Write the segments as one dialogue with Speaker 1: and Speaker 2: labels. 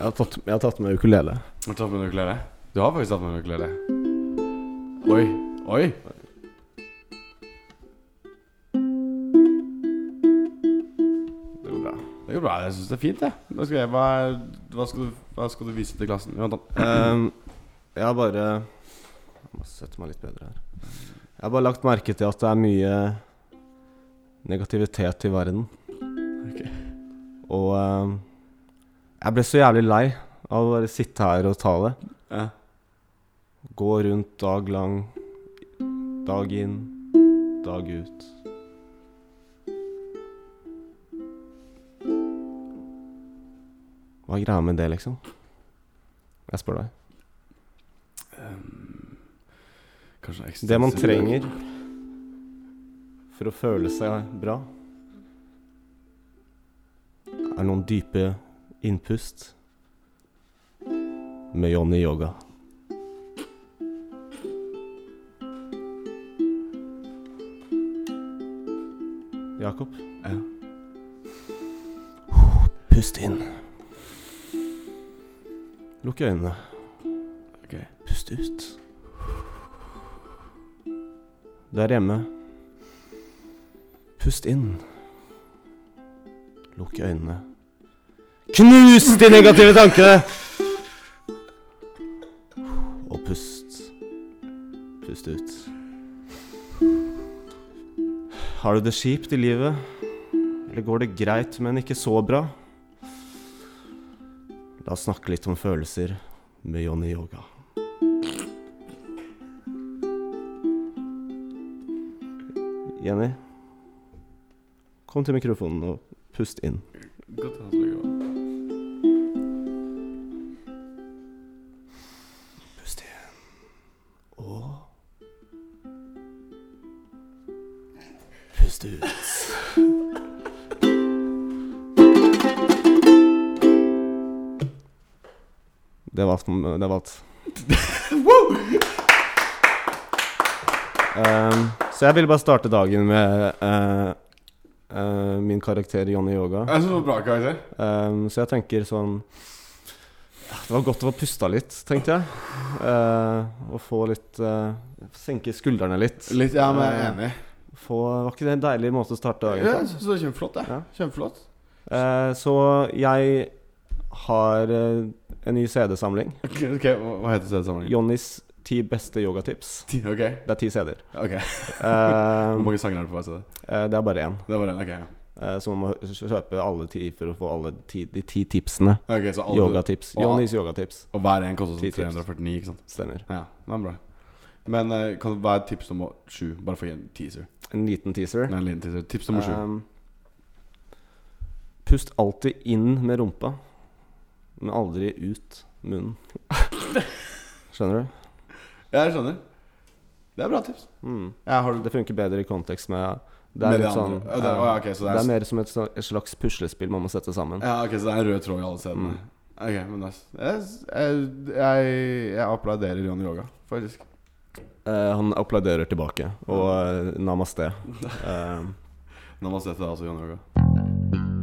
Speaker 1: Jeg har tatt, jeg har tatt med ukulele.
Speaker 2: Har du tatt med en ukulele? Du har faktisk tatt med en ukulele. Oi. Oi. Det går bra. Det går bra. Jeg syns det er fint, jeg. Hva skal, jeg hva, er- hva, skal du, hva skal du vise til klassen? Jonathan?
Speaker 1: Ehm, jeg har bare Jeg må sette meg litt bedre her. Jeg har bare lagt merke til at det er mye negativitet i verden.
Speaker 2: Ok.
Speaker 1: Og ehm, jeg ble så jævlig lei av å bare sitte her og ta det.
Speaker 2: Ja.
Speaker 1: Gå rundt dag lang, dag inn, dag ut. Hva er greia med det, liksom? Jeg spør deg.
Speaker 2: Ehm, Kanskje ekstra-
Speaker 1: Det man trenger for å føle seg bra, er noen dype innpust med Johnny Yoga. Jakob,
Speaker 2: Ja.
Speaker 1: pust inn. Lukk øynene.
Speaker 2: Ok.
Speaker 1: Pust ut. Der hjemme. Pust inn. Lukk øynene. Knus de negative tankene! Og pust. Pust ut. Har du det kjipt i livet? Eller går det greit, men ikke så bra? La oss snakke litt om følelser med Johnny Yoga. Jenny, kom til mikrofonen og pust inn.
Speaker 2: Godt å ha snakket om.
Speaker 1: Pust inn. Og Pust ut. Det var alt. Det var alt. Ehm, så jeg ville bare starte dagen med eh, eh, min karakter Johnny Yoga.
Speaker 2: Jeg synes det var bra karakter.
Speaker 1: Ehm, så jeg tenker sånn ja, Det var godt å få pusta litt, tenkte jeg. Eh, og få litt eh, Senke skuldrene litt.
Speaker 2: Litt, ja, men jeg er enig.
Speaker 1: Få, var ikke det en deilig måte å starte dagen
Speaker 2: Ja,
Speaker 1: på?
Speaker 2: jeg synes det var kjempeflott, jeg.
Speaker 1: Ja.
Speaker 2: Kjempeflott.
Speaker 1: Eh, så jeg har eh, en ny CD-samling.
Speaker 2: Ok, ok, Hva hva heter CD-samlingen?
Speaker 1: Johnnys ti beste yogatips.
Speaker 2: Ok.
Speaker 1: Det er ti CD-er.
Speaker 2: ok
Speaker 1: Eh,
Speaker 2: Hvor mange sanger er det på hver CD?
Speaker 1: eh, det er bare én.
Speaker 2: Det var den, ok. ja.
Speaker 1: Eh, så man må kjøpe alle ti for å få alle ti, de ti tipsene.
Speaker 2: Ok, så alle
Speaker 1: Yogatips.
Speaker 2: Og-
Speaker 1: Johnnys yogatips.
Speaker 2: Og hver en koster
Speaker 1: Ti
Speaker 2: sånn
Speaker 1: tips.
Speaker 2: 349, ikke sant?
Speaker 1: Stemmer.
Speaker 2: Ja, men bra. Men eh, kan, hva er tips nummer sju? Bare for å gi en teaser.
Speaker 1: En liten teaser.
Speaker 2: Nei, en liten teaser. Tips nummer sju.
Speaker 1: Ehm, pust alltid inn med rumpa, men aldri ut munnen. Skjønner du?
Speaker 2: Ja, jeg skjønner. Det er bra tips.
Speaker 1: Mm.
Speaker 2: Ja, har du
Speaker 1: Det funker bedre i kontekst med Det
Speaker 2: Med
Speaker 1: er
Speaker 2: det
Speaker 1: litt sånn
Speaker 2: andre. Ja, det er-
Speaker 1: eh,
Speaker 2: å, ja, ok, så det er-
Speaker 1: Det er mer som et sånn- et slags puslespill man må sette sammen.
Speaker 2: Ja, ok, så det er en rød tråd i alle stedene.
Speaker 1: Mm.
Speaker 2: Ok, men nice. Jeg, jeg, jeg, jeg applauderer Johnny Yoga, faktisk.
Speaker 1: Eh, han applauderer tilbake, og eh, namaste. Ehm,
Speaker 2: Namaste til deg også, Johnny Yoga.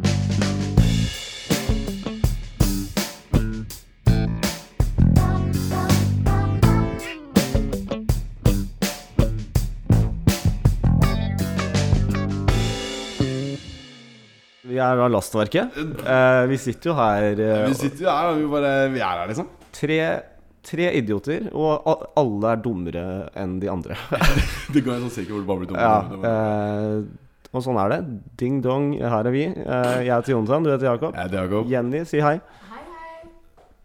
Speaker 1: vi er da Lastverket. Eh, vi sitter jo her eh,
Speaker 2: Vi sitter jo her, og vi bare Vi er her, liksom.
Speaker 1: tre, tre idioter, og a- alle er dummere enn de andre.
Speaker 2: Det går i en sånn sirkel hvor det bare blir dumt.
Speaker 1: Ja, eh, og sånn er det. Ding dong, her er vi. Eh, jeg heter Jonathan, du heter Jakob.
Speaker 2: Jeg heter Jakob.
Speaker 1: Jenny, si hei.
Speaker 3: Hei, hei.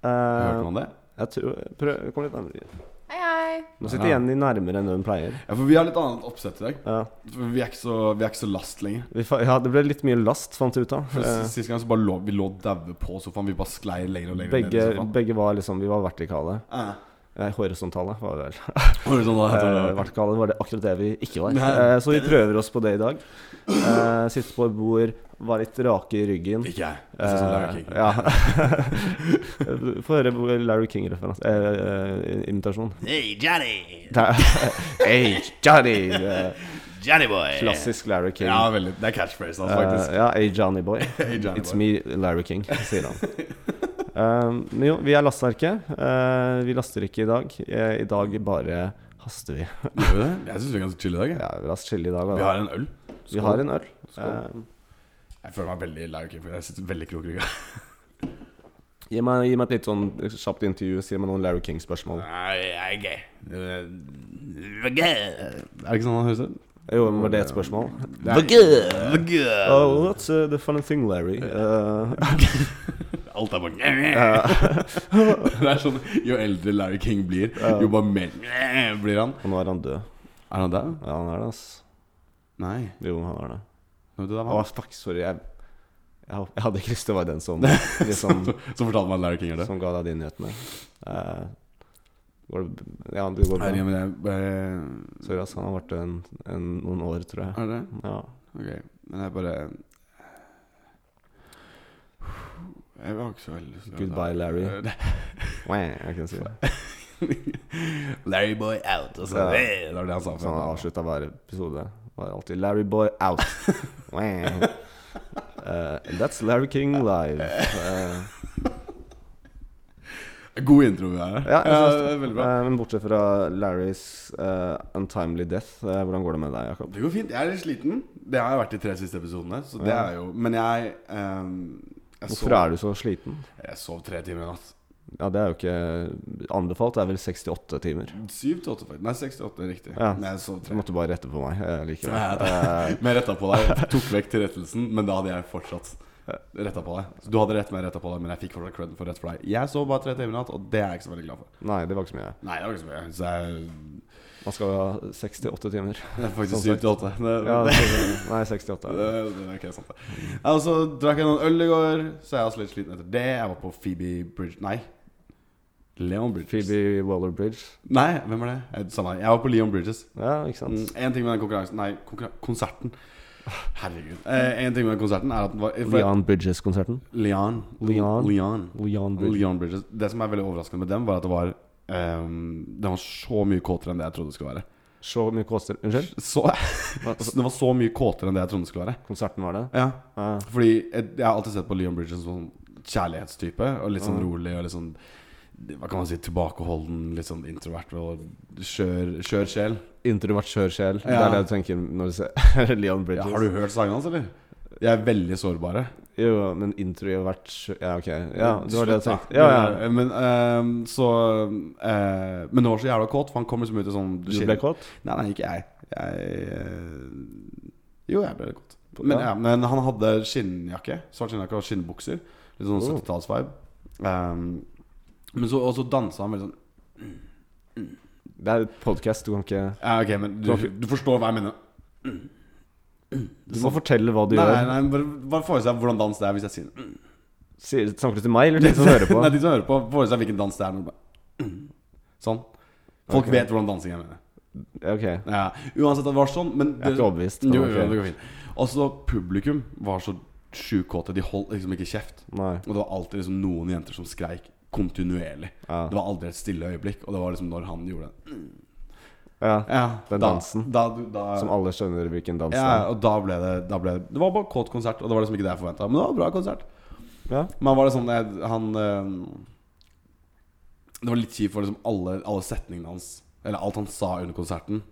Speaker 2: Hørte
Speaker 1: Eh,
Speaker 2: man det?
Speaker 1: jeg tror, prøv, kom litt nærmere.
Speaker 3: Hei, hei.
Speaker 1: Nå sitter
Speaker 2: Ja.
Speaker 1: Jenny nærmere enn hun pleier.
Speaker 2: Ja, for vi har litt annet oppsett i dag.
Speaker 1: Ja.
Speaker 2: For Vi er ikke så, vi er ikke så last lenger.
Speaker 1: vi, fa- ja, det ble litt mye last, fant jeg ut av.
Speaker 2: For
Speaker 1: Eh,
Speaker 2: s- Sist gang så bare lå vi lå daue på sofaen. Vi bare sklei lenger og lenger ned i
Speaker 1: begge,
Speaker 2: sofaen.
Speaker 1: begge var liksom Vi var vertikale.
Speaker 2: Eh,
Speaker 1: Nei, horisontale var vi vel.
Speaker 2: var det sånn da, heter
Speaker 1: Eh,
Speaker 2: det?
Speaker 1: vertikale var det akkurat det vi ikke var.
Speaker 2: Nei.
Speaker 1: Eh, så vi prøver oss på det i dag. Eh, sitte på et bord, være litt rake i ryggen.
Speaker 2: Ikke jeg. Jeg ser sånn Larry King.
Speaker 1: Eh, ja. Få høre hvor Larry King-referanse. Eh, eh, imitasjon.
Speaker 4: Hey, Johnny!
Speaker 1: Det er- hey, Johnny! Det er
Speaker 4: Johnny boy!
Speaker 1: Klassisk Larry King.
Speaker 2: Ja, veldig. Det er catchphrasen hans,
Speaker 1: Eh,
Speaker 2: altså, faktisk.
Speaker 1: ja, hey, Johnny boy.
Speaker 2: Hey, Johnny
Speaker 1: It's
Speaker 2: boy.
Speaker 1: me, Larry King, sier han. Eh, men jo, vi er lasteverket. Eh, vi laster ikke i dag. Eh, I dag bare haster vi.
Speaker 2: Gjør vi det? Jeg syns vi er ganske chill i dag. Jeg.
Speaker 1: Ja, vi laster chille i dag. da.
Speaker 2: Vi har en øl.
Speaker 1: vi har en øl.
Speaker 2: Skål.
Speaker 1: Eh,
Speaker 2: Jeg føler meg veldig lei, ok, for jeg sitter veldig krok i ryggen.
Speaker 1: gi, meg, gi meg et litt sånn kjapt intervju. Si meg noen Larry King-spørsmål.
Speaker 2: Nei, jeg er gay.
Speaker 4: Vagø.
Speaker 2: Er det ikke sånn han høres ut?
Speaker 1: Jo, men var det et spørsmål?
Speaker 4: Vagø.
Speaker 1: Oh, what's uh, the funny thing, Larry? Eh,
Speaker 4: Alt er bort.
Speaker 1: uh,
Speaker 2: Det er sånn, Jo eldre Larry King blir, jo bare mer blir han.
Speaker 1: og nå er han død.
Speaker 2: Er han der?
Speaker 1: Ja, han er det, ass.
Speaker 2: Nei.
Speaker 1: Jo, han er det.
Speaker 2: Vet du det,
Speaker 1: Å,
Speaker 2: han?
Speaker 1: fuck, sorry. Jeg, jeg, jeg hadde ikke lyst til å være den som, liksom,
Speaker 2: Så fortalte meg at Larry King er det.
Speaker 1: som ga deg de nyhetene. Eh, går det, b- ja, det Sånn går
Speaker 2: Nei,
Speaker 1: bra.
Speaker 2: men jeg bare
Speaker 1: Sorry, ass. Han har vært en, en, noen år, tror jeg.
Speaker 2: Er det?
Speaker 1: Ja.
Speaker 2: Ok. Men jeg bare Jeg har ikke så veldig lyst til å
Speaker 1: Goodbye, Larry. Wah, Jeg kan si det.
Speaker 4: Larry boy out. Og så
Speaker 1: Ja.
Speaker 2: altså.
Speaker 1: Sånn.
Speaker 2: Det
Speaker 4: eh,
Speaker 2: var det han sa.
Speaker 1: Så han
Speaker 2: før.
Speaker 1: avslutta hver episode. Var alltid 'Larry Boy out'. Wah. Eh, that's Larry King live. Eh,
Speaker 2: God intro vi har her.
Speaker 1: Ja, jeg synes
Speaker 2: det
Speaker 1: det.
Speaker 2: er veldig bra.
Speaker 1: Eh, men bortsett fra Larrys eh, untimely death, eh, hvordan går det med deg, Jakob?
Speaker 2: Det går fint. Jeg er litt sliten. Det har jeg vært de tre siste episodene. Så det
Speaker 1: Ja.
Speaker 2: er jo Men jeg um, jeg,
Speaker 1: Hvorfor
Speaker 2: sov,
Speaker 1: er du så sliten?
Speaker 2: jeg sov tre timer i natt.
Speaker 1: Ja, det er jo ikke anbefalt. Det er vel 68 timer.
Speaker 2: Syv til åtte, faktisk. Nei, seks til åtte, riktig.
Speaker 1: Ja.
Speaker 2: Men jeg sov
Speaker 1: Du
Speaker 2: tre.
Speaker 1: måtte bare rette på meg. Jeg liker det.
Speaker 2: Ja,
Speaker 1: Eh,
Speaker 2: Men jeg retta på deg. Jeg Tok vekk tilrettelsen, men da hadde jeg fortsatt retta på deg. Så du hadde rett, men jeg retta på deg, men jeg fikk fortsatt cred for rett for deg. Jeg sov bare tre timer i natt, og det er jeg ikke så veldig glad for.
Speaker 1: nei, det var ikke så mye.
Speaker 2: Nei, det var ikke så mye. Så jeg
Speaker 1: Man skal jo ha 68 timer.
Speaker 2: det er faktisk
Speaker 1: Sånn
Speaker 2: syv til åtte. Det,
Speaker 1: Ja,
Speaker 2: det,
Speaker 1: nei, 68.
Speaker 2: det, det er ikke sant, det. Ja, Og så drakk jeg noen øl i går, så jeg er også litt sliten etter det. Jeg var på Phoebe Bridge Nei. Leon Bridges.
Speaker 1: Phoebe Waller-Bridge.
Speaker 2: Nei, hvem er det? Eh, Samme her. Jeg var på Leon Bridges.
Speaker 1: Ja, ikke
Speaker 2: Mm,
Speaker 1: sant.
Speaker 2: En ting med den konkurransen Nei, konkurra konserten. Herregud. Eh, en ting med den konserten er at den var for-
Speaker 1: Leon Bridges-konserten.
Speaker 2: Leon.
Speaker 1: Leon.
Speaker 2: Leon.
Speaker 1: Leon Bridges.
Speaker 2: Leon Bridges. Det som er veldig overraskende med dem, var at det var ehm, Den var så mye kåtere enn det jeg trodde det skulle være.
Speaker 1: Så mye kåster Unnskyld?
Speaker 2: Så, den var så mye kåtere enn det jeg trodde det skulle være.
Speaker 1: Konserten var det?
Speaker 2: Ja
Speaker 1: Ja.
Speaker 2: Fordi jeg, jeg har alltid sett på Leon Bridges som sånn kjærlighetstype. Og litt sånn
Speaker 1: Mm.
Speaker 2: rolig og litt sånn Hva kan man si? Tilbakeholden, litt sånn introvert og skjør skjør sjel.
Speaker 1: Introvert skjørsjel. Det
Speaker 2: Ja.
Speaker 1: er det du tenker når du ser Leon
Speaker 2: Ja,
Speaker 1: Bridges.
Speaker 2: har du hørt sangene hans, eller? Jeg er veldig sårbare.
Speaker 1: Jo, men introvert sjø- Ja, ok. Ja, det var det jeg
Speaker 2: Slutt,
Speaker 1: tenkte.
Speaker 2: da.
Speaker 1: Ja, ja.
Speaker 2: Men, ehm, så eh, Men nå var så jævla kåt, for han kommer liksom ut i sånn
Speaker 1: Du ble kåt?
Speaker 2: Nei, nei, ikke jeg. jeg eh, jo, jeg ble litt kåt. Men,
Speaker 1: Ja.
Speaker 2: ja, men han hadde skinnjakke. Svart skinnjakke og skinnbukser. Litt sånn
Speaker 1: Oh.
Speaker 2: 70-tallsvibe. Ehm, men så, og så dansa han veldig sånn
Speaker 1: Det er et podkast, du kan ikke
Speaker 2: Ja, ok, men du, du forstår hva jeg mener.
Speaker 1: Du må fortelle hå du
Speaker 2: Nei, nei,
Speaker 1: gjør.
Speaker 2: nei bare, bare forestill deg hvordan dans det er hvis jeg sier den.
Speaker 1: Sier- Snakker du til meg, eller til de som hører på?
Speaker 2: Nei, de som hører på, forestill deg hvilken dans det er. Når du bare, sånn. Folk
Speaker 1: Ok.
Speaker 2: vet hvordan dansing er. mener jeg.
Speaker 1: Ok.
Speaker 2: Ja, uansett, det var sånn, men
Speaker 1: Jeg er ikke overbevist.
Speaker 2: Jo, jo,
Speaker 1: Ok.
Speaker 2: det går fint. Og så publikum var så sjukt kåte. De holdt liksom ikke kjeft.
Speaker 1: Nei.
Speaker 2: Og det var alltid liksom noen jenter som skreik kontinuerlig.
Speaker 1: Ja.
Speaker 2: Det var aldri et stille øyeblikk, og det var liksom når han gjorde den
Speaker 1: Ja.
Speaker 2: ja,
Speaker 1: Den
Speaker 2: da,
Speaker 1: dansen.
Speaker 2: Da, da,
Speaker 1: Som alle skjønner hvilken dans det
Speaker 2: ja,
Speaker 1: er.
Speaker 2: og da ble det da ble, Det var bare kåt konsert, og det var liksom ikke det jeg forventa. Men det var en bra konsert.
Speaker 1: Ja.
Speaker 2: Men han var liksom jeg, Han eh, Det var litt kjipt for liksom alle, alle setningene hans, eller alt han sa under konserten.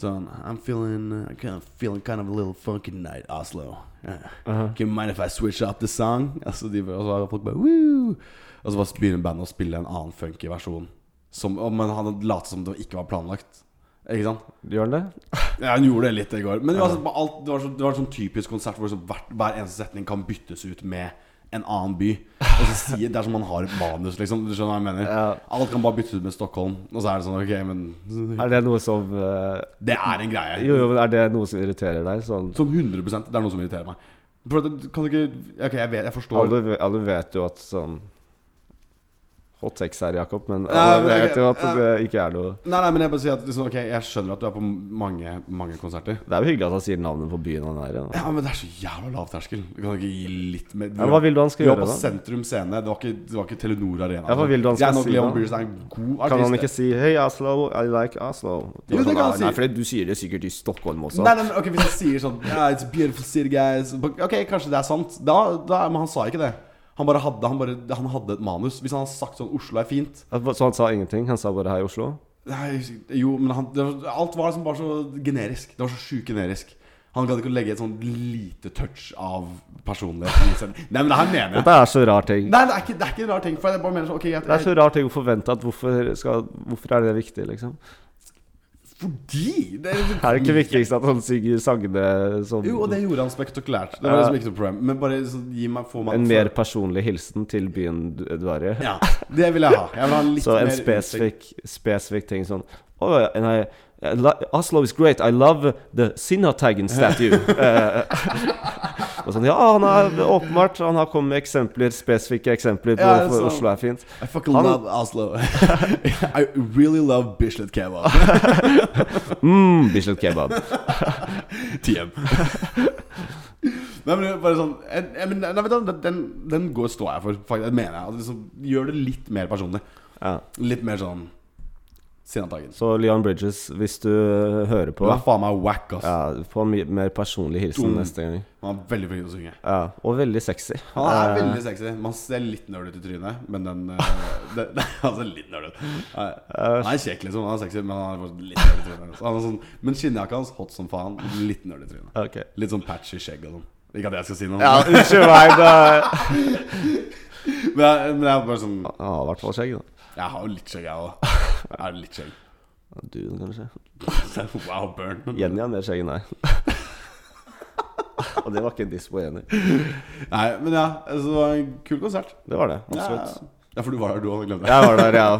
Speaker 2: Sånn I'm feeling I'm kind of feeling kind of a little funky night, Oslo. Yeah.
Speaker 1: Uh-huh.
Speaker 2: Can you mind if I switch up the song? Altså, de, og så var folk bare Woo! Og så bare begynner bandet å spille en annen funky versjon. Som, og- men han lot som det ikke var planlagt. Ikke sant?
Speaker 1: Gjør den det?
Speaker 2: Ja, han gjorde det litt i går. Men det var, sånn, bare alt, det var, så, det var en sånn typisk konsert hvor liksom hvert, hver eneste setning kan byttes ut med en annen by. Og så sier, Det er som man har et manus, liksom. Du skjønner hva jeg mener?
Speaker 1: Ja.
Speaker 2: Alt kan bare byttes ut med Stockholm. Og så er det sånn, ok, men
Speaker 1: Er det noe som eh,
Speaker 2: Det er en greie.
Speaker 1: Jo, jo, men er det noe som irriterer deg? Sånn
Speaker 2: Som 100 Det er noe som irriterer meg. For det, kan du ikke Ok, jeg vet, jeg forstår
Speaker 1: alle, ve- alle vet jo at sånn Hot sex her, Jakob, men
Speaker 2: Ja,
Speaker 1: alle
Speaker 2: men ok,
Speaker 1: vet jo at
Speaker 2: ja.
Speaker 1: det ikke er noe
Speaker 2: Nei, nei, men jeg bare sier at liksom, Ok, jeg skjønner at du er på mange, mange konserter.
Speaker 1: Det er jo hyggelig at han sier navnet på byen han er i. da.
Speaker 2: Ja, men det er så jævla lav terskel. Du kan ikke gi litt mer
Speaker 1: Ja, hva vil du han skal
Speaker 2: Vi var
Speaker 1: gjøre,
Speaker 2: på
Speaker 1: da?
Speaker 2: Sentrum Scene. Det var ikke, det var ikke Telenor Arena.
Speaker 1: Ja, hva vil du han skal
Speaker 2: Jeg er nok
Speaker 1: si
Speaker 2: Leon
Speaker 1: da?
Speaker 2: Bridges er en god artist.
Speaker 1: Kan han ikke si 'Hei, Oslo, I like Oslo'?
Speaker 2: Jo, det
Speaker 1: Sånn,
Speaker 2: kan han
Speaker 1: «Ah,
Speaker 2: si.
Speaker 1: Nei, for du sier det sikkert i Stockholm også.
Speaker 2: Nei, nei, men ok, sånn, Hvis han sier sånn yeah, It's a beautiful city, guys. Ok, kanskje det er sant. Da, da, men han sa ikke det. Han bare hadde, han bare, han hadde et manus. Hvis han hadde sagt sånn 'Oslo er fint'
Speaker 1: Så han sa ingenting? Han sa bare 'hei, Oslo'?
Speaker 2: Nei, jo, men han, det var, alt var liksom bare så generisk. Det var så sjukt generisk. Han gadd ikke å legge et sånn lite touch av personlighet i seg. Nei, men det her mener jeg.
Speaker 1: Dette er så rar ting.
Speaker 2: Nei, det er ikke, det er ikke en rar ting. For jeg bare mener sånn, ok, jeg,
Speaker 1: Det er så rar ting å forvente at hvorfor, skal, hvorfor er det viktig, liksom?
Speaker 2: Fordi! Det
Speaker 1: Er det ikke viktigst at han synger sangene som
Speaker 2: Jo, og det gjorde han spektakulært. Det var liksom ikke noe problem. Men bare sånn, gi meg, få meg
Speaker 1: en mer personlig hilsen til byen du du er i?
Speaker 2: Ja, det vil jeg ha. Jeg vil ha litt
Speaker 1: Så en
Speaker 2: mer
Speaker 1: spesifikk, spesifikk ting sånn oh, and I, I lo- Oslo is great. I love the Sinnataggen statue. Eh, og sånn, ja, han er åpenbart Han har kommet med eksempler, spesifikke eksempler på
Speaker 2: Ja, det er
Speaker 1: hvorfor
Speaker 2: sant.
Speaker 1: Oslo er fint.
Speaker 2: I fucking
Speaker 1: Han-
Speaker 2: love Oslo. I really love Bislett kebab.
Speaker 1: Mm, Bislett kebab.
Speaker 2: TM. Nei, men det er bare sånn jeg, jeg, men, nei, vet du, den- den, den går står jeg for, faktisk. Det mener jeg. Altså, liksom, gjør det litt mer personlig.
Speaker 1: Ja.
Speaker 2: Litt mer sånn Sinnatagen.
Speaker 1: Så Leon Bridges, hvis du hører
Speaker 2: Du
Speaker 1: på
Speaker 2: er faen meg wack, ass.
Speaker 1: ja, Få en mye mer personlig hilsen
Speaker 2: Mm.
Speaker 1: neste gang.
Speaker 2: Han er veldig flink til å synge.
Speaker 1: Ja, og veldig sexy.
Speaker 2: Han er
Speaker 1: Eh,
Speaker 2: veldig sexy. Man ser litt nerd ut i trynet, men den eh, det, det, Han ser litt nerd ut. Nei,
Speaker 1: Eh.
Speaker 2: Han er kjekk, liksom. Han er sexy, men han er bare litt nerd i trynet. Så han er sånn, men skinnjakka hans, hot som faen. Litt nerd i trynet.
Speaker 1: Ok.
Speaker 2: Litt sånn patchy skjegg og sånn. Ikke at jeg skal si noe,
Speaker 1: Ja, unnskyld meg, da.
Speaker 2: men, jeg, men jeg er bare sånn
Speaker 1: Han har i hvert fall skjegg, da.
Speaker 2: Jeg har jo litt skjegg, jeg òg. Jeg har litt skjegg.
Speaker 1: Du, kanskje.
Speaker 2: Wow, burn.
Speaker 1: Jenny har mer skjegg enn deg. Og det var ikke en diss på Jenny.
Speaker 2: Nei, men ja, altså, det var en kul konsert.
Speaker 1: Det var det,
Speaker 2: Ja,
Speaker 1: absolutt.
Speaker 2: ja, for du var der, du òg. Glem det.
Speaker 1: Jeg var der, ja.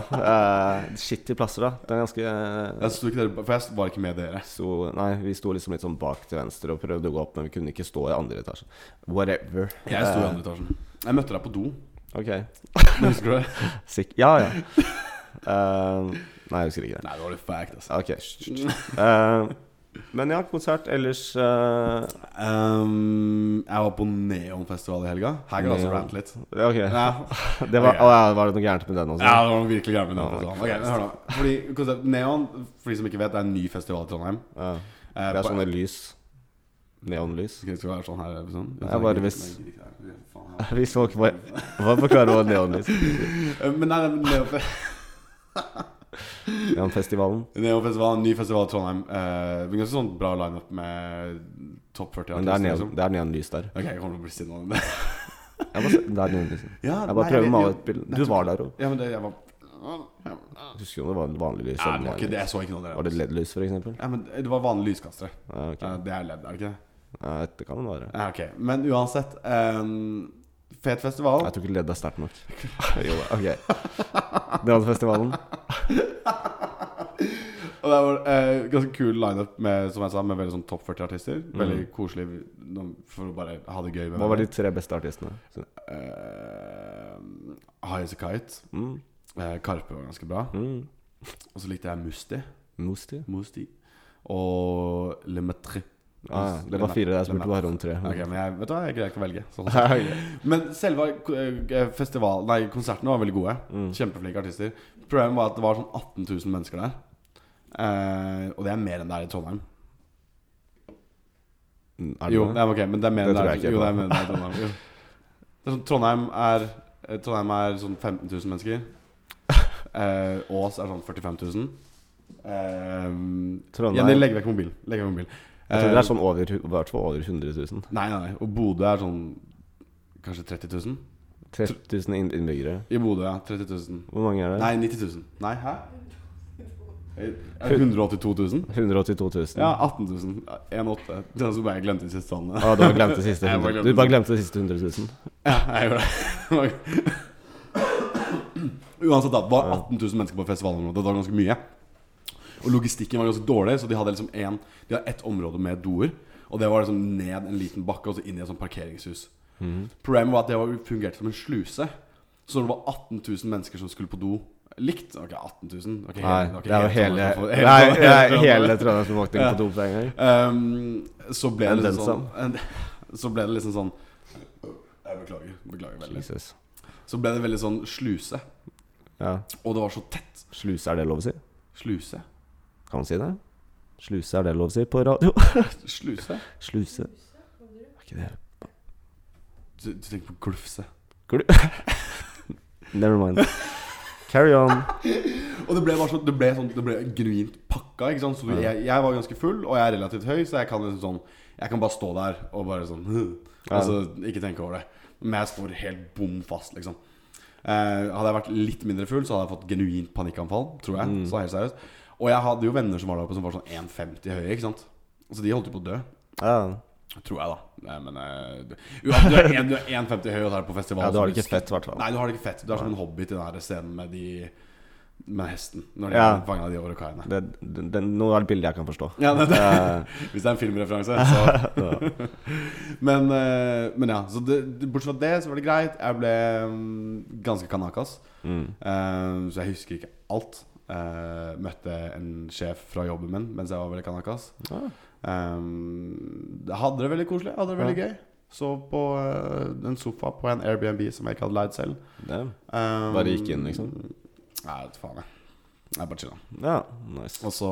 Speaker 1: Uh, Skittige plasser, da. Det er ganske eh,
Speaker 2: Jeg sto ikke der, for jeg var ikke med dere.
Speaker 1: sto, Nei, vi sto liksom litt sånn bak til venstre og prøvde å gå opp, men vi kunne ikke stå i andre etasje. Whatever.
Speaker 2: Jeg sto i andre etasjen. Jeg møtte deg på do.
Speaker 1: Eh, Ok.
Speaker 2: Husker du det?
Speaker 1: Sikk... Ja, ja. Eh, nei, jeg husker ikke det.
Speaker 2: Nei, det var litt fact, altså.
Speaker 1: Ok. Eh, men ja, konsert ellers eh,
Speaker 2: Um, jeg var på Neonfestival i helga. Her kan jeg også
Speaker 1: Neon.
Speaker 2: rante litt.
Speaker 1: Ok.
Speaker 2: Ja.
Speaker 1: Det var, å, ja, var det noe gærent med den også?
Speaker 2: Ja, det var noe virkelig gærent med Neonfestivalen. Ok, men hør nå. Fordi konsept- Neon, for de som ikke vet, det er en ny festival i Trondheim.
Speaker 1: Ja.
Speaker 2: Eh,
Speaker 1: Det er
Speaker 2: på-
Speaker 1: sånne lys. Neonlys.
Speaker 2: Skal det skal være sånn her? Sånn.
Speaker 1: Jeg bare hvis-
Speaker 2: Nei, faen, ja.
Speaker 1: Vi så ikke på Var på klare over neonlys.
Speaker 2: Eh, Men nei, nei, men Neonfe-
Speaker 1: Neonfestivalen.
Speaker 2: Neonfestivalen, ny festival i Trondheim. Eh, vi kan se sånn bra lineup med topp 40
Speaker 1: Men det er,
Speaker 2: artister,
Speaker 1: neon,
Speaker 2: liksom.
Speaker 1: det er neonlys der.
Speaker 2: Ok, jeg kommer til å bli sinna om det.
Speaker 1: Jeg bare, s- det er neonlys.
Speaker 2: Ja,
Speaker 1: Jeg
Speaker 2: nei,
Speaker 1: bare prøver å
Speaker 2: vet
Speaker 1: male
Speaker 2: jo-
Speaker 1: et bilde. Du
Speaker 2: nettopp.
Speaker 1: var der òg.
Speaker 2: Ja, men det, jeg var
Speaker 1: Husker jo det var vanlig lys.
Speaker 2: Nei,
Speaker 1: eller
Speaker 2: det var ikke det.
Speaker 1: neonlys.
Speaker 2: Jeg så ikke noe av
Speaker 1: Var
Speaker 2: det.
Speaker 1: det LED-lys, for eksempel?
Speaker 2: Ja, men det var vanlige lyskastere.
Speaker 1: Ja, ok.
Speaker 2: Eh, det er ledd, er det ikke det?
Speaker 1: Ja, det kan det være.
Speaker 2: Ja, ok. Men uansett. eh, fet festival.
Speaker 1: Jeg tror ikke LED er sterkt nok. Jo, ok. Neonfestivalen.
Speaker 2: Og det var eh, ganske kul lineup med som jeg sa Med veldig sånn topp 40 artister. Veldig koselig no- for å bare ha det gøy.
Speaker 1: Mm.
Speaker 2: med
Speaker 1: Hva var de
Speaker 2: hverandre.
Speaker 1: tre beste artistene?
Speaker 2: Eh, High as a Kite.
Speaker 1: Mm.
Speaker 2: Eh, Karpe var ganske bra.
Speaker 1: Mm.
Speaker 2: Og så likte jeg Musti.
Speaker 1: Mosti?
Speaker 2: Musti. Og Le Metre.
Speaker 1: Ah, ja. det var fire. Jeg spurte bare om tre.
Speaker 2: Ok, men jeg, vet du hva, jeg greier ikke å velge. Sånn.
Speaker 1: Ok.
Speaker 2: Men selve eh, festival, nei, konsertene var veldig gode.
Speaker 1: Mm.
Speaker 2: Kjempeflinke artister. Problemet var at det var sånn 18 000 mennesker der. Eh, og det er mer enn det er i Trondheim.
Speaker 1: Mm, Er det
Speaker 2: Jo,
Speaker 1: det?
Speaker 2: nei, ok, men det er mer enn
Speaker 1: Det
Speaker 2: det
Speaker 1: tror
Speaker 2: er
Speaker 1: jeg ikke
Speaker 2: Jo,
Speaker 1: på.
Speaker 2: det er mer enn det er i Trondheim. Jo. Det er sånn, Trondheim er eh, Trondheim er sånn 15 000 mennesker. Eh, Ås er sånn 45 000. Eh,
Speaker 1: Trondheim-
Speaker 2: Jenny, legg vekk mobilen. Legg vekk mobilen.
Speaker 1: Jeg tror det
Speaker 2: Eh,
Speaker 1: er sånn over, i hvert fall over 100 000.
Speaker 2: Nei, nei, nei. Og Bodø er sånn Kanskje 30 000?
Speaker 1: 30 000 inn- innbyggere.
Speaker 2: I Bodø, ja. 30 000.
Speaker 1: Hvor mange er det?
Speaker 2: Nei, 90 000. Nei, hæ? Er det 182 000?
Speaker 1: 182 000.
Speaker 2: Ja, 18 000. 1,8. Det er så bare jeg glemte de siste tallene.
Speaker 1: Ah, du har glemt det siste
Speaker 2: Jeg
Speaker 1: 100
Speaker 2: bare glemte
Speaker 1: Du bare
Speaker 2: det.
Speaker 1: glemte det siste 100 000.
Speaker 2: Ja, jeg gjorde det. Uansett, da. Det var 18 000 mennesker på festivalområdet. Det var ganske mye. Og logistikken var ganske dårlig, så de hadde liksom en, De hadde ett område med doer. Og det var liksom ned en liten bakke og så inn i et sånt parkeringshus.
Speaker 1: Mhm.
Speaker 2: Problemet var at det var, fungerte som en sluse. Så når det var 18 000 mennesker som skulle på do likt Ok, 18 000. ok,
Speaker 1: Nei,
Speaker 2: ok,
Speaker 1: det er jo hele
Speaker 2: Trondheim som får-
Speaker 1: Nei, det er hele Trondheimsbefolkningen
Speaker 2: Trondheim.
Speaker 1: på do på en gang.
Speaker 2: Ehm, så ble
Speaker 1: En
Speaker 2: det liksom sånn
Speaker 1: densam.
Speaker 2: en, Så ble det liksom sånn Jeg beklager. Beklager veldig.
Speaker 1: Jesus.
Speaker 2: Så ble det veldig sånn sluse.
Speaker 1: Ja.
Speaker 2: Og det var så tett.
Speaker 1: Sluse, er det lov å si?
Speaker 2: Sluse.
Speaker 1: Kan man si det? Sluse, er det lov å si på radio?
Speaker 2: Sluse?
Speaker 1: Sluse. Er ikke det
Speaker 2: Du, du tenker på glufse.
Speaker 1: Glu- Never mind. Carry on.
Speaker 2: Og det ble, bare så, det ble, sånn, det ble genuint pakka. Ikke sant? Så du, jeg, jeg var ganske full, og jeg er relativt høy, så jeg kan liksom sånn Jeg kan bare stå der og bare sånn Altså ikke tenke over det. Men jeg står helt bom fast, liksom. Eh, hadde jeg vært litt mindre full, så hadde jeg fått genuint panikkanfall, tror jeg. Så helt seriøst. Og jeg hadde jo venner som var der oppe som var sånn 1,50 høye, ikke sant. Så de holdt jo på å dø.
Speaker 1: Ja.
Speaker 2: Tror jeg, da. Nei, men eh, du, uansett, du er en- du er 1,50 høy og det er på festival.
Speaker 1: ja, du har
Speaker 2: så
Speaker 1: det ikke fett, i hvert fall.
Speaker 2: Nei, du har det ikke fett. Du er som en hobbit i den her scenen med de Med hesten. Når de
Speaker 1: Ja.
Speaker 2: er fanget av de orkaiene.
Speaker 1: Det, det, det, nå er det bildet jeg kan forstå.
Speaker 2: Ja, det, det. Hvis det er en filmreferanse, så men, eh, men ja. Så det, det- bortsett fra det, så var det greit. Jeg ble mm, ganske kanakas.
Speaker 1: Mm.
Speaker 2: Eh, så jeg husker ikke alt. Eh, møtte en sjef fra jobben min mens jeg var veldig kanakas.
Speaker 1: Ah.
Speaker 2: Eh, jeg hadde det veldig koselig. Jeg Hadde det veldig gøy. Sov på eh, en sofa på en Airbnb som jeg ikke hadde leid selv.
Speaker 1: Det.
Speaker 2: Um,
Speaker 1: Bare gikk inn, liksom?
Speaker 2: Nei, vet du faen jeg. Jeg bare chilla.
Speaker 1: Ja, nice.
Speaker 2: Og så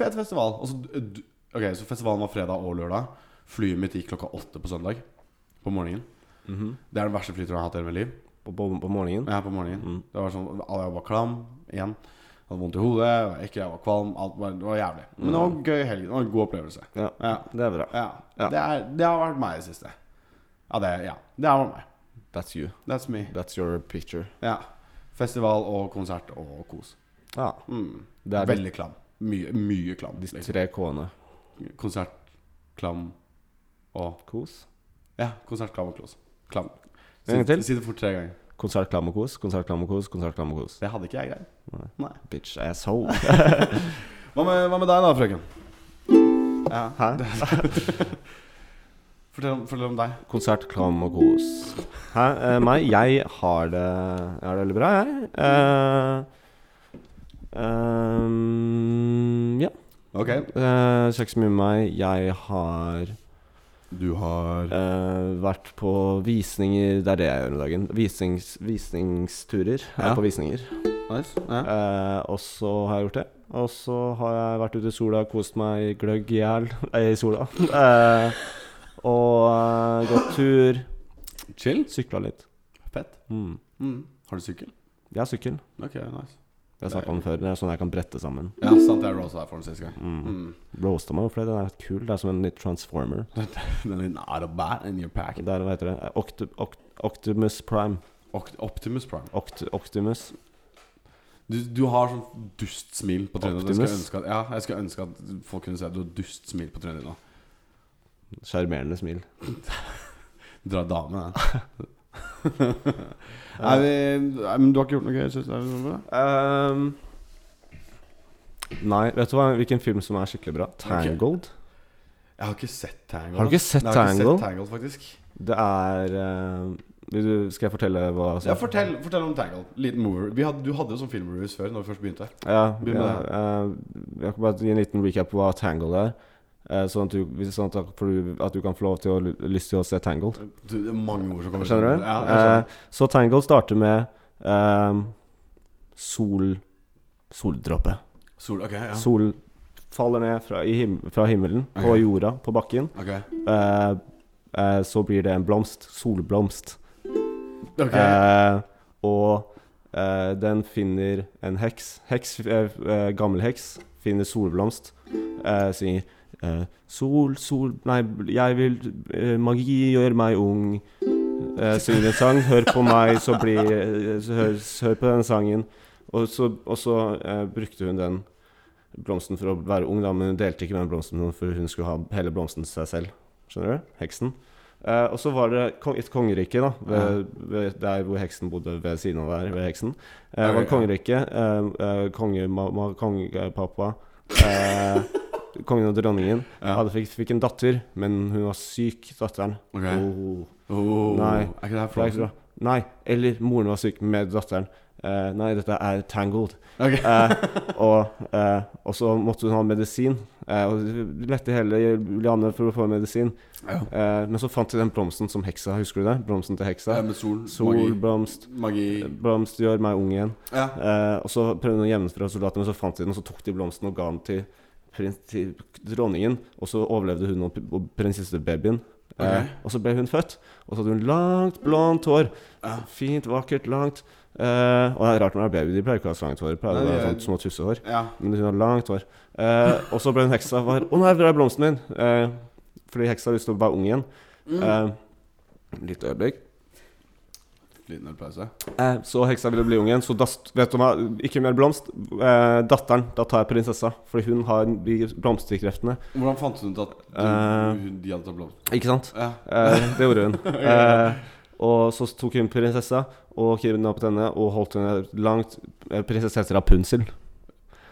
Speaker 2: Fet festival. Og så, d- ok, så festivalen var fredag og lørdag. Flyet mitt gikk klokka åtte på søndag. På morgenen.
Speaker 1: Mhm.
Speaker 2: Det er den verste flyturen jeg har hatt i hele mitt liv.
Speaker 1: på, på, på morgenen?
Speaker 2: Ja, på morgenen
Speaker 1: Mm.
Speaker 2: Det var sånn, Jeg var klam igjen. Hadde vondt i hodet, jeg var ekkel, jeg var kvalm. Alt var, det var jævlig. Men det var
Speaker 1: Mm.
Speaker 2: en gøy helg. Det var en god opplevelse.
Speaker 1: Ja.
Speaker 2: Ja.
Speaker 1: Det er bra.
Speaker 2: ja.
Speaker 1: Ja.
Speaker 2: Det, er, det har vært meg i det siste. Ja, det, ja. det har vært meg.
Speaker 1: That's you.
Speaker 2: That's me.
Speaker 1: That's your picture.
Speaker 2: Ja. Festival og konsert og kos.
Speaker 1: Ja.
Speaker 2: Mm.
Speaker 1: Det er
Speaker 2: Veldig klam. Mye, mye klam.
Speaker 1: de, de
Speaker 2: Liksom.
Speaker 1: tre K-ene.
Speaker 2: Konsert, klam og
Speaker 1: Kos.
Speaker 2: Ja, konsert, klam og klos. Klam.
Speaker 1: En gang til.
Speaker 2: Si det fort tre ganger.
Speaker 1: Konsert, klam og kos. Konsert, klam og kos. Konsert, klam og kos.
Speaker 2: Det hadde ikke jeg greid. Nei.
Speaker 1: Bitch asshole.
Speaker 2: Hva med, hva med deg da, frøken? Ja.
Speaker 1: Hæ?
Speaker 2: Fortell, om- fortell om deg.
Speaker 1: Konsert, klam og kos. Hæ? Eh, meg? Jeg har det Jeg har det veldig bra, jeg. Eh, ehm, ja.
Speaker 2: Ok.
Speaker 1: Eh, Skjer ikke så mye med meg. Jeg har
Speaker 2: Du har
Speaker 1: eh, vært på visninger Det er det jeg gjør om dagen. Visnings, visningsturer. Jeg
Speaker 2: Ja.
Speaker 1: er på visninger.
Speaker 2: Nice. Ja.
Speaker 1: Eh, og så har jeg gjort det. Og så har jeg vært ute i sola, kost meg gløgg i hjel eh, i sola. Eh, og eh, gått tur.
Speaker 2: Chill.
Speaker 1: Sykla litt.
Speaker 2: Fett.
Speaker 1: Mm.
Speaker 2: Mm. Har du sykkel?
Speaker 1: Jeg har sykkel.
Speaker 2: Ok, nice.
Speaker 1: Det har jeg snakka om før. Det er sånn jeg kan brette sammen.
Speaker 2: Ja, sant. Jeg rosa her for den siste gang.
Speaker 1: Mm.
Speaker 2: Mm.
Speaker 1: Roasta meg jo fordi den er litt kul. Det er som en litt transformer.
Speaker 2: Den er not a bat in your pack.
Speaker 1: Det er, hva heter det? Eh, Octu, oct, Octimus Prime.
Speaker 2: Oct Optimus Prime.
Speaker 1: Oct, Octimus.
Speaker 2: Du, du har sånn dust smil på trynet. Jeg skulle,
Speaker 1: Optimus.
Speaker 2: ønske at, ja, jeg skulle ønske at folk kunne se at du har dust smil på trynet nå.
Speaker 1: Sjarmerende smil.
Speaker 2: Dra dame, da. Nei, vi- nei, men du har ikke gjort noe gøy? Synes jeg,
Speaker 1: Ehm, nei, vet du hva? hvilken film som er skikkelig bra? Tangled.
Speaker 2: jeg har ikke sett Tangle.
Speaker 1: Har du ikke sett
Speaker 2: Nei, jeg har
Speaker 1: Tangle?
Speaker 2: Ikke sett Tangle faktisk.
Speaker 1: Det er eh, vil du, Skal jeg fortelle hva
Speaker 2: Ja, fortell, fortell om Tangle. Liten mover. Vi hadde, du hadde jo sånn filmreviews før, når vi først begynte.
Speaker 1: Ja,
Speaker 2: Begynn med
Speaker 1: ja eh, jeg kan bare gi en liten recap på hva Tangled er. eh, sånn at, du, hvis- sånn at, du, at du kan få lov til å lyst til å se Tangled.
Speaker 2: Du, det er mange ord som kommer ut.
Speaker 1: Skjønner du?
Speaker 2: Ja, jeg skjønner.
Speaker 1: Eh, så Tangled starter med eh, sol soldråpe.
Speaker 2: Sol, ok, ja.
Speaker 1: Sol faller ned fra, i him fra himmelen på
Speaker 2: Ok.
Speaker 1: jorda, på bakken.
Speaker 2: Ok,
Speaker 1: Eh, eh, så blir det en blomst. Solblomst.
Speaker 2: Ok.
Speaker 1: Eh, og eh, den finner en heks. heks eh, eh, gammel heks finner solblomst. Eh, sier eh, Sol, sol Nei, jeg vil eh, Magi gjør meg ung. Eh, synger en sang. Hør på meg, så blir eh, så hør, så hør på den sangen. Og så, og så eh, brukte hun den blomsten for å være ung, da, men hun delte ikke med den blomsten, for hun skulle ha hele blomsten til seg selv. Skjønner du? Heksen. Eh, og så var det kong, et kongerike, da, ved, ved der hvor heksen bodde ved siden av der. ved heksen. Eh, det var et kongerike. eh, eh, Kongemamma, kongepappa eh, Kongen og dronningen
Speaker 2: Ja.
Speaker 1: hadde fikk, fikk en datter, men hun var syk, datteren.
Speaker 2: Ok.
Speaker 1: Oh.
Speaker 2: Oh,
Speaker 1: nei.
Speaker 2: Er ikke
Speaker 1: Det
Speaker 2: det her
Speaker 1: er ikke så
Speaker 2: Frozen?
Speaker 1: bra. Nei, eller moren var syk med datteren. Eh, nei, dette er tangled.
Speaker 2: Ok.
Speaker 1: Eh, og, eh, og så måtte hun ha medisin. Eh, og det lette hele Julianne for å få medisin.
Speaker 2: Ja.
Speaker 1: Eh, men så fant de den blomsten som heksa, husker du det? Blomsten til
Speaker 2: Eh,
Speaker 1: heksa.
Speaker 2: Med sol, magi,
Speaker 1: Solblomst.
Speaker 2: magi
Speaker 1: Blomst gjør meg ung igjen.
Speaker 2: Ja.
Speaker 1: Eh, og så prøvde hun å gjemme den fra soldatene, men så fant de den, og så tok de blomsten og ga den til, prins, til dronningen. Og så overlevde hun og, pr- og prinsessebabyen. Eh, og så ble hun født, og så hadde hun langt, blondt hår. Fint, vakkert, langt. Eh, og det er rart når det er baby, de pleier ikke å ha så langt hår. De Pleier å
Speaker 2: Nei,
Speaker 1: ha
Speaker 2: de er-
Speaker 1: sånn små tussehår.
Speaker 2: Ja.
Speaker 1: Men hun har langt hår. Eh, og så ble hun heksa var, 'Å nei, hvor er blomsten din?' Eh, fordi heksa har lyst til å være ung igjen.
Speaker 2: Mm.
Speaker 1: Eh, litt øyeblikk.
Speaker 2: Liten ølpause.
Speaker 1: Eh, så heksa ville bli ung igjen, så da st- vet du hva, ikke mer blomst. Eh, datteren, da tar jeg prinsessa, fordi hun har de blomsterkreftene.
Speaker 2: Hvordan fant hun ut at du,
Speaker 1: Eh.
Speaker 2: hun- de hadde tatt blomster?
Speaker 1: Ikke sant?
Speaker 2: Ja.
Speaker 1: Eh, det gjorde hun. Eh, og så tok hun prinsessa og kidnappet henne og holdt henne langt eh, Prinsesse heter Rapunzel.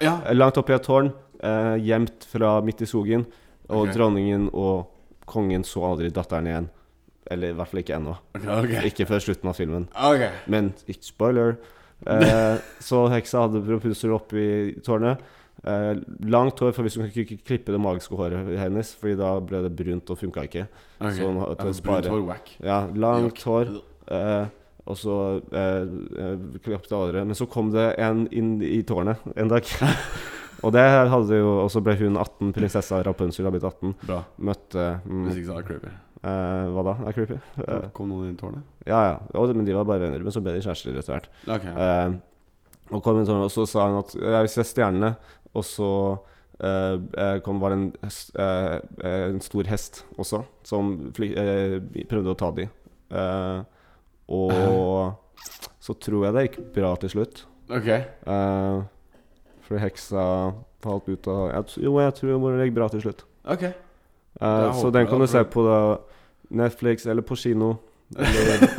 Speaker 2: ja.
Speaker 1: Eh, Langt oppe i et tårn, eh, gjemt fra midt i skogen. Og
Speaker 2: Ok.
Speaker 1: dronningen og kongen så aldri datteren igjen. Eller i hvert fall ikke ennå.
Speaker 2: Ok, ok.
Speaker 1: Ikke før slutten av filmen.
Speaker 2: Ok.
Speaker 1: Men ikke spoiler. Eh, så heksa hadde Rapunzel oppe i tårnet. Eh, langt hår, for hvis hun kunne ikke klippe det magiske håret hennes, Fordi da ble det brunt og funka ikke.
Speaker 2: Ok.
Speaker 1: Så hun har-
Speaker 2: Ja, for
Speaker 1: spare-
Speaker 2: Brunt hår, whack.
Speaker 1: Ja, langt hår. Eh, og så eh, eh, klappet alle det. Men så kom det en inn i tårnet en dag. og det hadde jo Og så ble hun 18, prinsessa Rapunzel har blitt 18.
Speaker 2: Bra.
Speaker 1: Møtte mm,
Speaker 2: Hvis ikke så er det creepy.
Speaker 1: eh, Hva da? Er creepy? Eh,
Speaker 2: Kom noen inn i tårnet?
Speaker 1: ja ja. Og, men de var bare venner. Men så ble de kjærester etter hvert.
Speaker 2: Ok.
Speaker 1: Eh, og kom en sånn, og så sa han at «Ja, vi ser stjernene, og så eh, eh, kom, var det en, hest- eh, eh, en stor hest også, som fly, eh, prøvde å ta de. Eh, og så tror jeg det gikk bra til slutt.
Speaker 2: Ok.
Speaker 1: Eh, fordi heksa falt ut av jeg, tr- Jo, jeg tror det gikk bra til slutt.
Speaker 2: Ok.
Speaker 1: Eh,
Speaker 2: Jeg
Speaker 1: så den
Speaker 2: håper det,
Speaker 1: kan du
Speaker 2: for-
Speaker 1: se på da, Netflix eller på kino. Eller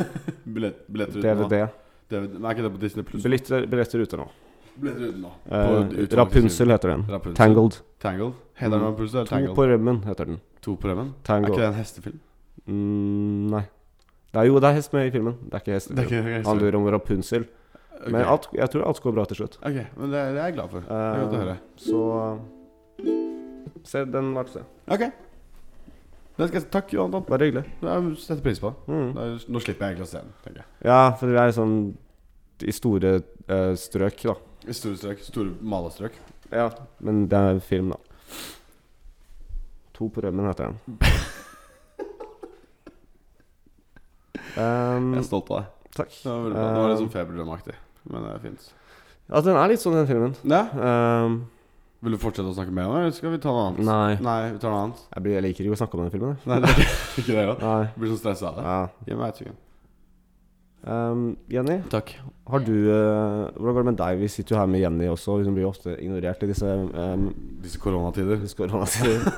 Speaker 2: Billett, billetter uten nå.
Speaker 1: DVD.
Speaker 2: DVD. Men er ikke det på Disney Plus?
Speaker 1: Billetter, billetter ute nå.
Speaker 2: Billetter uten nå.
Speaker 1: Eh,
Speaker 2: På- uten-
Speaker 1: Rapunzel heter den.
Speaker 2: Rapunzel.
Speaker 1: Tangled.
Speaker 2: Tangled. Heter den
Speaker 1: Mm.
Speaker 2: Rapunzel eller
Speaker 1: To
Speaker 2: Tangled?
Speaker 1: på rømmen heter den.
Speaker 2: To på rømmen? Er
Speaker 1: Tango.
Speaker 2: ikke det en hestefilm?
Speaker 1: Mm, nei. Det er, jo, det er hest med i filmen. Det er ikke hest. i
Speaker 2: Det er
Speaker 1: filmen.
Speaker 2: ikke det
Speaker 1: Han lurer om Rapunzel. Men alt, jeg tror alt går bra til slutt.
Speaker 2: Ok, men det, det er jeg glad for. Det er godt å høre.
Speaker 1: Eh, så Se, den var til å se.
Speaker 2: Ok. Det skal jeg, takk, Johan Tom.
Speaker 1: Bare hyggelig.
Speaker 2: Jeg setter pris på det.
Speaker 1: Mm.
Speaker 2: Da- Nå slipper jeg egentlig å se den, tenker jeg.
Speaker 1: Ja, for det er sånn i store eh, strøk, da.
Speaker 2: I store strøk. Store malestrøk.
Speaker 1: Ja. Men det er film, da. To på rømmen heter den. Um,
Speaker 2: Jeg er stolt av deg.
Speaker 1: takk.
Speaker 2: Det var, veldig bra. det var litt sånn feberdrømmaktig, men det er fint.
Speaker 1: Ja, den er litt sånn, den filmen.
Speaker 2: Ja.
Speaker 1: Um,
Speaker 2: Vil du fortsette å snakke mer om det, eller skal vi ta noe annet?
Speaker 1: nei.
Speaker 2: Nei, vi tar noe annet.
Speaker 1: Jeg, blir, jeg liker ikke å snakke om den filmen. jeg.
Speaker 2: Nei, det er ikke- ikke det, da.
Speaker 1: Nei.
Speaker 2: Blir så stressa av det.
Speaker 1: Ja.
Speaker 2: Gi meg et sekund.
Speaker 1: Um, Jenny,
Speaker 2: Takk.
Speaker 1: har du, eh, hvordan går det med deg? Vi sitter jo her med Jenny også. Hun blir jo ofte ignorert i disse um,
Speaker 2: Disse koronatider.
Speaker 1: koronatider.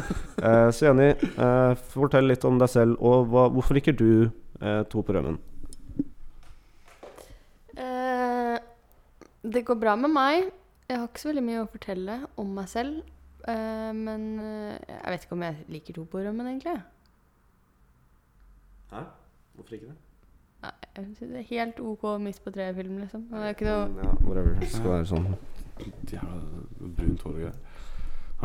Speaker 1: Eh, så Jenny, eh, fortell litt om deg selv. Og hva, hvorfor liker du eh, To på rømmen?
Speaker 3: Eh, det går bra med meg. Jeg har ikke så veldig mye å fortelle om meg selv. Eh, men eh, jeg vet ikke om jeg liker to på rømmen, egentlig.
Speaker 1: Hæ? Hvorfor ikke det?
Speaker 3: Nei, jeg synes det er Helt OK midt på treet-film, liksom. Det er ikke noe
Speaker 1: Mm, Ja, whatever. Det skal være sånn.
Speaker 2: Jævla brunt hår og greier. Har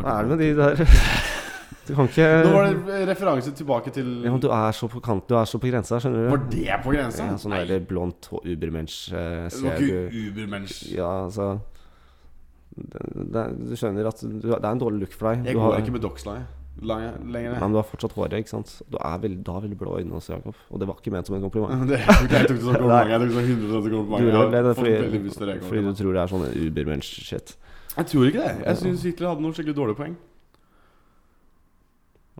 Speaker 1: Hva
Speaker 2: ikke-
Speaker 1: er det med de der Du kan ikke
Speaker 2: Nå var det referanse tilbake til
Speaker 1: ja, men Du er så på kant, du er så på grensa, skjønner
Speaker 2: Var
Speaker 1: du.
Speaker 2: det på grensa?
Speaker 1: Ja, sånn der blondt hå- ubermensch eh,
Speaker 2: Det var
Speaker 1: ser du.
Speaker 2: ikke ubermensch.
Speaker 1: Ja, altså det, det, Du skjønner at du, det er en dårlig look for deg.
Speaker 2: Jeg
Speaker 1: du
Speaker 2: går ikke med dockslange lange- lenger.
Speaker 1: Nei,
Speaker 2: jeg.
Speaker 1: men du har fortsatt håret, ikke sant? Du, er veld, du har veldig blå øyne også, Jakob. Og det var ikke ment som en kompliment.
Speaker 2: Det, jeg tok det som kompliment. Jeg tok det som 100
Speaker 1: Du
Speaker 2: kompliment. Jeg
Speaker 1: gjorde
Speaker 2: har
Speaker 1: vel det
Speaker 2: fått veldig lyst
Speaker 1: fordi,
Speaker 2: til å reagere
Speaker 1: fordi du
Speaker 2: på det.
Speaker 1: tror det er sånn en ubermensch-shit.
Speaker 2: Jeg tror ikke det. Jeg syns Hitler hadde noen skikkelig dårlige poeng.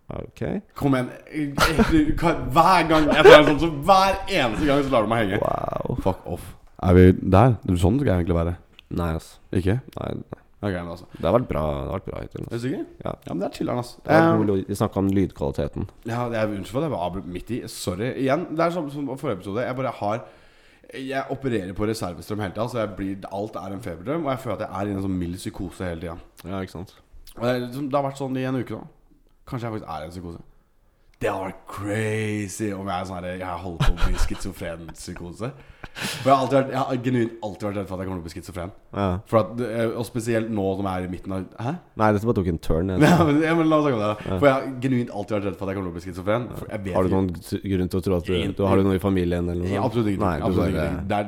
Speaker 1: Ok?
Speaker 2: Kom igjen. Hitler, hva- Hver gang jeg tar en sånn, så hver eneste gang så lar du meg henge.
Speaker 1: Wow.
Speaker 2: Fuck off. Er vi der? Det er Sånn skal jeg egentlig være.
Speaker 1: Nei, altså.
Speaker 2: Ikke?
Speaker 1: Nei, nei.
Speaker 2: Ok, men altså.
Speaker 1: Det har vært bra Det har vært bra hittil.
Speaker 2: Er du sikker?
Speaker 1: Ja.
Speaker 2: Ja, men det er chiller'n, altså.
Speaker 1: Det var god lyd- Vi snakka om lydkvaliteten.
Speaker 2: Ja, det er, unnskyld for at jeg avbrøt midt i. Sorry. Igjen, det er som, som forrige episode. Jeg bare har Jeg opererer på reservestrøm hele tida. Så jeg blir, alt er en feberdrøm. Og jeg føler at jeg er i en sånn mild psykose hele tida.
Speaker 1: Ja, ikke sant?
Speaker 2: Og Det, er liksom, det har vært sånn i en uke nå. Kanskje jeg faktisk er i en psykose. Det hadde vært crazy om jeg, er sånn her, jeg holder på å bli schizofren psykose. For jeg har, alltid vært, jeg har genuint alltid vært redd for at jeg kommer til å bli schizofren.
Speaker 1: Ja.
Speaker 2: For at, eh, Og spesielt nå som jeg er i midten av Hæ?
Speaker 1: Nei, dette bare tok en turn. jeg.
Speaker 2: Nei, men, ja, men la oss snakke om det. da. For jeg har genuint alltid vært redd for at jeg kommer til å bli schizofren. For jeg vet
Speaker 1: Har
Speaker 2: ikke-
Speaker 1: du noen t- grunn til å tro at du, du Har du noe i familien eller noe?
Speaker 2: Ja,
Speaker 1: sånt?
Speaker 2: absolutt ingenting.
Speaker 1: Nei, du
Speaker 2: absolutt
Speaker 1: bare-
Speaker 2: ingenting. Det er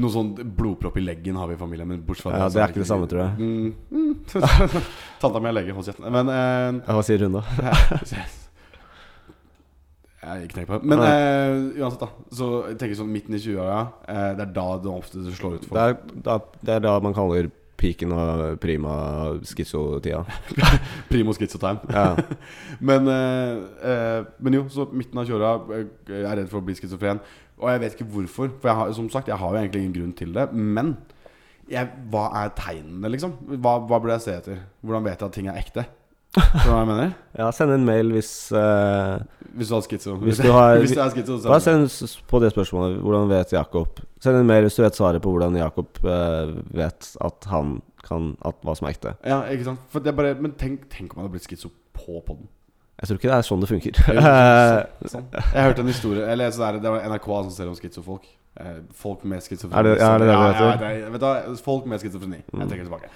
Speaker 2: noe sånn blodpropp i leggen har vi i familien, men bortsett fra
Speaker 1: Ja, det er ikke det samme, tror jeg.
Speaker 2: jeg. Mm. Tanta mi har legge, hold kjeft. Men eh,
Speaker 1: Ja, Hva sier hun, da?
Speaker 2: eh, Jeg ikke tenkt på det. Men eh, uansett, da. Så jeg tenker sånn midten i 20-åra. Eh, det er da det ofte slår ut
Speaker 1: Det
Speaker 2: for
Speaker 1: er, da, det er da man kaller piken og prima schizotida.
Speaker 2: primo schizo-time.
Speaker 1: Ja.
Speaker 2: Men, eh, eh, men jo, så midten av 20-åra eh, Jeg er redd for å bli schizofren. Og jeg vet ikke hvorfor. For jeg har, som sagt, jeg har jo egentlig ingen grunn til det. Men jeg, hva er tegnene, liksom? Hva, hva burde jeg se etter? Hvordan vet jeg at ting er ekte? Skjønner du hva jeg mener?
Speaker 1: ja, send en mail hvis eh,
Speaker 2: Hvis du har schizo.
Speaker 1: Hvis du har-
Speaker 2: hvis du er schizo, så
Speaker 1: Bare send s- på det spørsmålet Hvordan vet Jakob Send en mail hvis du vet svaret på hvordan Jakob eh, vet at han kan at hva som er ekte.
Speaker 2: Ja, ikke sant? For det er bare, men tenk, tenk om jeg hadde blitt schizo på podden.
Speaker 1: Jeg tror ikke det er sånn det funker.
Speaker 2: Jo,
Speaker 1: Eh,
Speaker 2: Sånn. Jeg hørte en historie Eller jeg leste der, Det var NRK som ser om skizofolk. Eh, Folk med schizofreni.
Speaker 1: Er det- ja, er det Mm. det det
Speaker 2: ja,
Speaker 1: heter?
Speaker 2: ja, det- vet du hva? Folk med schizofreni. Jeg trekker tilbake.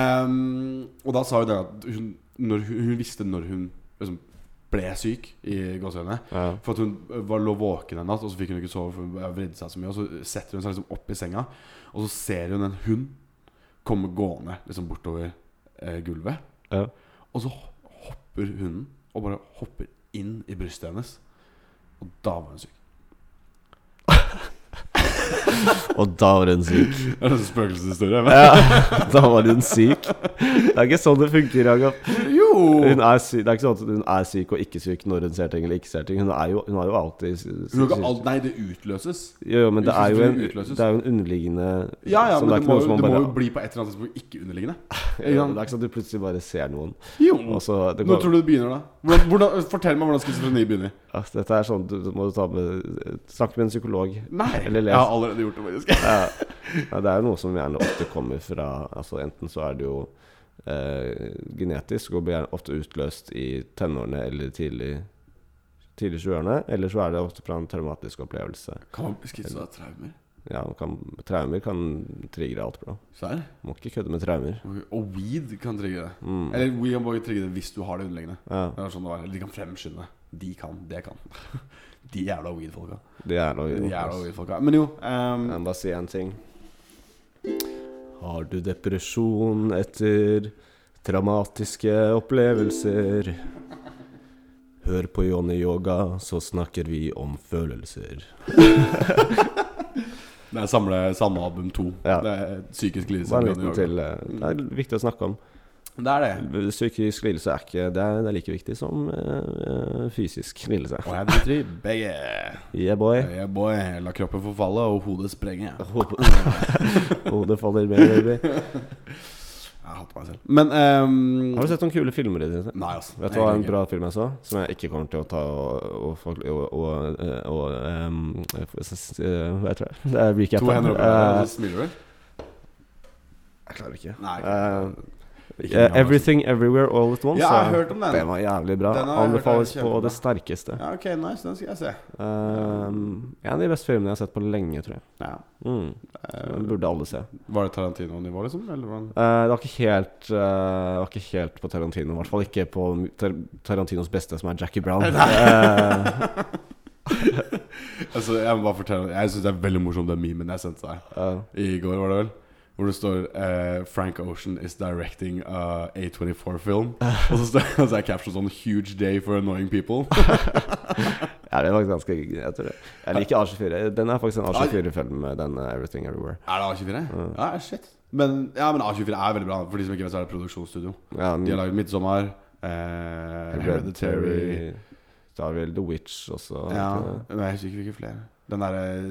Speaker 2: Ehm, og da sa hun det at hun, når hun, hun visste når hun liksom, ble syk, i gåsehudene.
Speaker 1: ja.
Speaker 2: For at hun var, lå våken en natt, og så fikk hun ikke sove. For hun vridde seg så mye Og så setter hun seg liksom opp i senga, og så ser hun en hund komme gående liksom bortover eh, gulvet.
Speaker 1: Ja.
Speaker 2: Og så hopper hunden, og bare hopper inn i brystet hennes. Og da var hun syk.
Speaker 1: Og da var hun syk.
Speaker 2: Det er en spøkelseshistorie. men-
Speaker 1: Ja, da var hun syk. Det er ikke sånn det funker, Jakob.
Speaker 2: Jo!
Speaker 1: Hun er syk. Det er ikke sånn at hun er syk og ikke syk når hun ser ting eller ikke ser ting. Hun er jo, hun er jo alltid sy-
Speaker 2: Hun har
Speaker 1: syk.
Speaker 2: ikke alt Nei, det utløses.
Speaker 1: Jo, jo, men det er jo en,
Speaker 2: Hun utløses.
Speaker 1: det er jo en underliggende
Speaker 2: Ja, ja,
Speaker 1: sånn, er
Speaker 2: men det
Speaker 1: ikke
Speaker 2: må,
Speaker 1: noe som
Speaker 2: jo-
Speaker 1: man
Speaker 2: det må
Speaker 1: bare-
Speaker 2: jo bli på et eller annet tidspunkt ikke underliggende.
Speaker 1: Ja, Det er ikke sånn at du plutselig bare ser noen.
Speaker 2: Jo!
Speaker 1: Og så, det
Speaker 2: Når
Speaker 1: går,
Speaker 2: Mm. tror du altså, det begynner, da? Hvordan, hvordan, fortell meg hvordan schizofreni begynner.
Speaker 1: ja, dette er sånn du, du må ta med Snakke med en psykolog.
Speaker 2: Nei!
Speaker 1: Eller les.
Speaker 2: Jeg har allerede gjort det, faktisk.
Speaker 1: Ja. Ja, det er jo noe som gjerne ofte kommer fra altså Enten så er det jo eh, genetisk og blir gjerne ofte utløst i tenårene eller tidlig tidlig 20-årene, eller så er det ofte fra en traumatisk opplevelse.
Speaker 2: Kan man bli schizo av traumer?
Speaker 1: Ja, man kan, Traumer kan trigge alt bra.
Speaker 2: Serr?
Speaker 1: Må ikke kødde med traumer.
Speaker 2: Og weed kan trigge det.
Speaker 1: Mm.
Speaker 2: Eller weed kan bare trigge det hvis du har det underliggende.
Speaker 1: Ja,
Speaker 2: Det er sånn det var. Eller de kan fremskynde det. De kan, det kan. De jævla weed-folka.
Speaker 1: det er
Speaker 2: De
Speaker 1: noe
Speaker 2: jævla weed-folka. Men jo ehm,
Speaker 1: Jeg må bare si en ting. Har du depresjon etter traumatiske opplevelser? Hør på Johnny Yoga, så snakker vi om følelser.
Speaker 2: Det er samle Sandealbum 2.
Speaker 1: Ja.
Speaker 2: Det er psykisk lidelse.
Speaker 1: Bare en
Speaker 2: Johnny
Speaker 1: liten
Speaker 2: Yoga.
Speaker 1: til. eh, Det er viktig å snakke om.
Speaker 2: Det er det.
Speaker 1: Psykisk lidelse er ikke Det er, det er like viktig som eh, eh, fysisk lidelse.
Speaker 2: Og jeg driter i begge.
Speaker 1: Yeah, boy.
Speaker 2: Jeg boy, la kroppen forfalle og hodet sprenge. Jeg
Speaker 1: Hodet faller med, baby.
Speaker 2: hater meg selv. Men ehm,
Speaker 1: Har du sett noen kule filmer i det siste?
Speaker 2: Nei, altså.
Speaker 1: Vet du hva en bra film jeg så? Som jeg ikke kommer til å ta og, og, og, og, og ehm, s- s- eh, Hva heter det? Det er recap.
Speaker 2: To hender opp i
Speaker 1: Eh,
Speaker 2: været, og så smiler du?
Speaker 1: jeg klarer ikke.
Speaker 2: Nei.
Speaker 1: Eh,
Speaker 2: Ikke
Speaker 1: eh,
Speaker 2: mye, altså.
Speaker 1: everything Everywhere All At Once.
Speaker 2: Ja, jeg har
Speaker 1: eh,
Speaker 2: hørt om den.
Speaker 1: Den var jævlig bra.
Speaker 2: Den har jeg hørt,
Speaker 1: Anbefales
Speaker 2: den er
Speaker 1: på
Speaker 2: kjempebra.
Speaker 1: det sterkeste.
Speaker 2: Ja, ok, nice. Den skal jeg se.
Speaker 1: Ehm, en av de beste filmene jeg har sett på lenge, tror jeg.
Speaker 2: Ja.
Speaker 1: Mm.
Speaker 2: Eh,
Speaker 1: Den burde alle se.
Speaker 2: Var det Tarantino-nivå, liksom? Eller var den
Speaker 1: Eh, det var ikke helt eh, Det var ikke helt på Tarantino. I hvert fall ikke på tar Tarantinos beste, som er Jackie Brown. Eh,
Speaker 2: altså, Jeg må bare fortelle Jeg syns det er veldig morsomt, den memen jeg sendte deg
Speaker 1: eh,
Speaker 2: i går, var det vel? Hvor det står eh, 'Frank Ocean is directing a A24-film'. Og så står og så er caption sånn 'Huge day for annoying people'.
Speaker 1: Ja, det var ganske Jeg tror det. Jeg liker A24. Den er faktisk en A24-film, den eh, Everything Everywhere.
Speaker 2: Er det A24? Ja, shit. Men, ja, men A24 er veldig bra. For de som ikke vet, så er det produksjonsstudio.
Speaker 1: Ja,
Speaker 2: De har laget 'Midtsommer', eh, 'Hereditary'
Speaker 1: Så har vi The Witch også.
Speaker 2: Ja, men jeg husker ikke flere. Den derre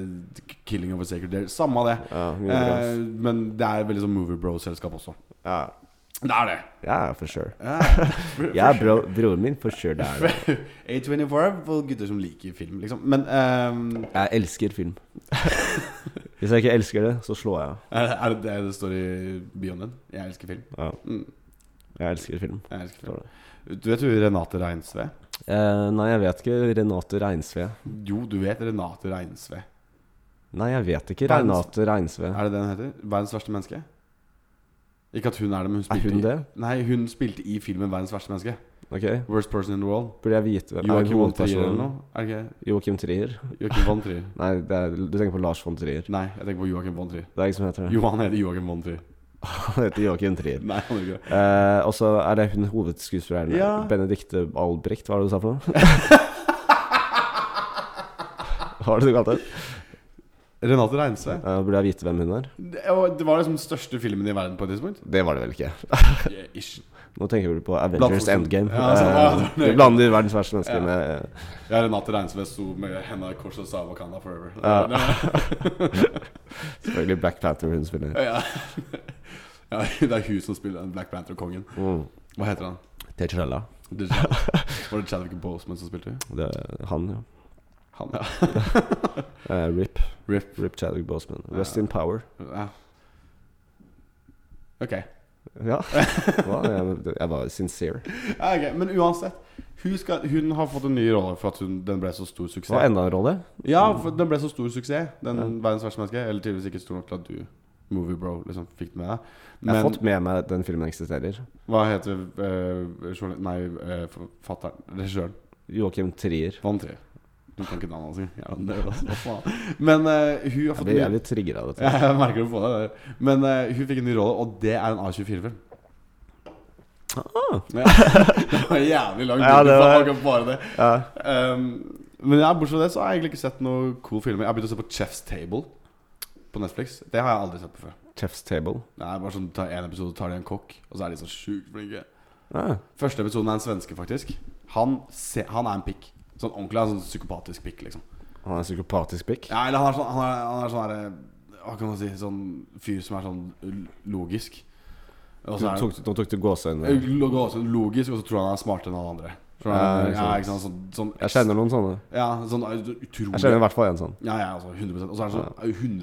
Speaker 2: 'Killing of a Sacred Dare'. Samme av det.
Speaker 1: Ja, mye bra.
Speaker 2: Eh, men det er veldig sånn Movie Bro-selskap også.
Speaker 1: ja.
Speaker 2: Det er det.
Speaker 1: ja, for sure.
Speaker 2: Ja,
Speaker 1: Ja, bro, broren min, for sure. Det er det.
Speaker 2: A24 er for gutter som liker film, liksom. Men ehm,
Speaker 1: Jeg elsker film. Hvis jeg ikke elsker det, så slår jeg av.
Speaker 2: er, er det det det står i bioen din? Jeg elsker film.
Speaker 1: Ja.
Speaker 2: Mm,
Speaker 1: Jeg elsker film.
Speaker 2: jeg elsker
Speaker 1: Står
Speaker 2: film. Du vet jo Renate Reinsve?
Speaker 1: Eh, nei, jeg vet ikke Renate Reinsve.
Speaker 2: Jo, du vet Renate Reinsve.
Speaker 1: Nei, jeg vet ikke
Speaker 2: Verdens-
Speaker 1: Renate Reinsve.
Speaker 2: Er det det hun heter? Verdens verste menneske? Ikke at hun er det, men hun
Speaker 1: Er
Speaker 2: spilte
Speaker 1: hun
Speaker 2: i
Speaker 1: det?
Speaker 2: Nei, hun spilte i filmen 'Verdens verste menneske'.
Speaker 1: Ok.
Speaker 2: Worst person in the world.
Speaker 1: Burde jeg vite er
Speaker 2: Joakim von Trier eller
Speaker 1: hovedpersonen
Speaker 2: noe? Er det ikke
Speaker 1: Joakim Trier?
Speaker 2: Joakim von Trier?
Speaker 1: Nei, det er, du tenker på Lars von Trier.
Speaker 2: Nei, jeg tenker på Joakim von Trier.
Speaker 1: Det er ikke som heter det.
Speaker 2: Johan heter Joakim von Trier.
Speaker 1: Han heter Joakim Trier.
Speaker 2: Nei, han gjør ikke det.
Speaker 1: Eh, og så er det hun hovedskuespilleren
Speaker 2: Ja.
Speaker 1: Benedicte Albrecht, hva var det du sa for noe? Har du kalt den?
Speaker 2: Renate Reinsve.
Speaker 1: Ja, burde jeg vite hvem hun er?
Speaker 2: Det, og det var liksom den største filmen i verden på et tidspunkt.
Speaker 1: Det var det vel ikke.
Speaker 2: Yeah, ish.
Speaker 1: Nå tenker du på
Speaker 2: Blant
Speaker 1: Avengers
Speaker 2: folk som-
Speaker 1: Endgame.
Speaker 2: Ja, altså, ja,
Speaker 1: Eh,
Speaker 2: det var-
Speaker 1: du blander verdens verste mennesker
Speaker 2: Ja.
Speaker 1: med eh,
Speaker 2: Ja, Renate Reinsve sto med henda i kors og sa 'Wakanda forever'.
Speaker 1: Ja.
Speaker 2: Det-
Speaker 1: selvfølgelig Black Panther hun spiller.
Speaker 2: ja. ja, det er hun som spiller den Black Panther-kongen.
Speaker 1: Mm.
Speaker 2: Hva heter han?
Speaker 1: Tetrella.
Speaker 2: Det- Var det Chadwick Boseman som spilte?
Speaker 1: Det er han, ja.
Speaker 2: Han, ja.
Speaker 1: Eh, RIP.
Speaker 2: Rip.
Speaker 1: RIP Chadwick Boseman. Rest
Speaker 2: Ja.
Speaker 1: in power.
Speaker 2: ja. Ok.
Speaker 1: Ja. Hva? Jeg, jeg var sincere.
Speaker 2: Ja, ok, Men uansett. Hun, skal, hun har fått en ny rolle for at hun, den ble så stor
Speaker 1: Det var
Speaker 2: suksess.
Speaker 1: enda en rolle.
Speaker 2: Ja, for den ble så stor suksess. Den
Speaker 1: Ja.
Speaker 2: verdens verste menneske. Eller tydeligvis ikke stor nok til at du, Moviebro, liksom fikk det med deg.
Speaker 1: Jeg har
Speaker 2: Men
Speaker 1: fått med meg at den filmen eksisterer.
Speaker 2: hva heter eh, journal- Nei, eh, forfatteren Regissøren.
Speaker 1: Joakim Trier.
Speaker 2: Van Trier. Du kan ikke navnet hans engang. Jævla nerd, altså. Hva faen? Men eh, hun har
Speaker 1: Jeg
Speaker 2: fått
Speaker 1: blir,
Speaker 2: en
Speaker 1: jeg
Speaker 2: ny
Speaker 1: blir trigget av dette.
Speaker 2: ja, Jeg merker du på deg det. Men eh, hun fikk en ny rolle, og det er en A24-film.
Speaker 1: Ah.
Speaker 2: Ja. det var jævlig langt.
Speaker 1: Ja,
Speaker 2: det
Speaker 1: det var-
Speaker 2: bare det.
Speaker 1: Ja.
Speaker 2: Um, men ja, bortsett fra det så har jeg egentlig ikke sett noen cool filmer. Jeg har begynt å se på Chef's Table på Netflix. Det har jeg aldri sett på før.
Speaker 1: Chef's Table.
Speaker 2: Det er bare sånn, ta en episode tar de en kokk, og så er de så sjukt flinke.
Speaker 1: Ah.
Speaker 2: Første episoden er en svenske, faktisk. Han, se, han er en pikk. Sånn ordentlig han er en sånn psykopatisk pikk, liksom.
Speaker 1: Han er en psykopatisk pikk.
Speaker 2: Ja, eller han er sånn Han er, han er sånn herre Hva kan man si Sånn fyr som er sånn l- logisk. Og
Speaker 1: Du
Speaker 2: så er
Speaker 1: tok, nå tok du
Speaker 2: han
Speaker 1: gåseøynene.
Speaker 2: lo- går også logisk, og så tror han han er smartere enn alle andre. Tror
Speaker 1: Ja,
Speaker 2: han,
Speaker 1: ikke
Speaker 2: ja,
Speaker 1: sant.
Speaker 2: ikke sant Sånn, sånn
Speaker 1: Jeg kjenner noen sånne.
Speaker 2: Ja, sånn ut- utrolig
Speaker 1: Jeg kjenner i hvert fall en sånn.
Speaker 2: Ja, ja, altså 100 Og så er han sånn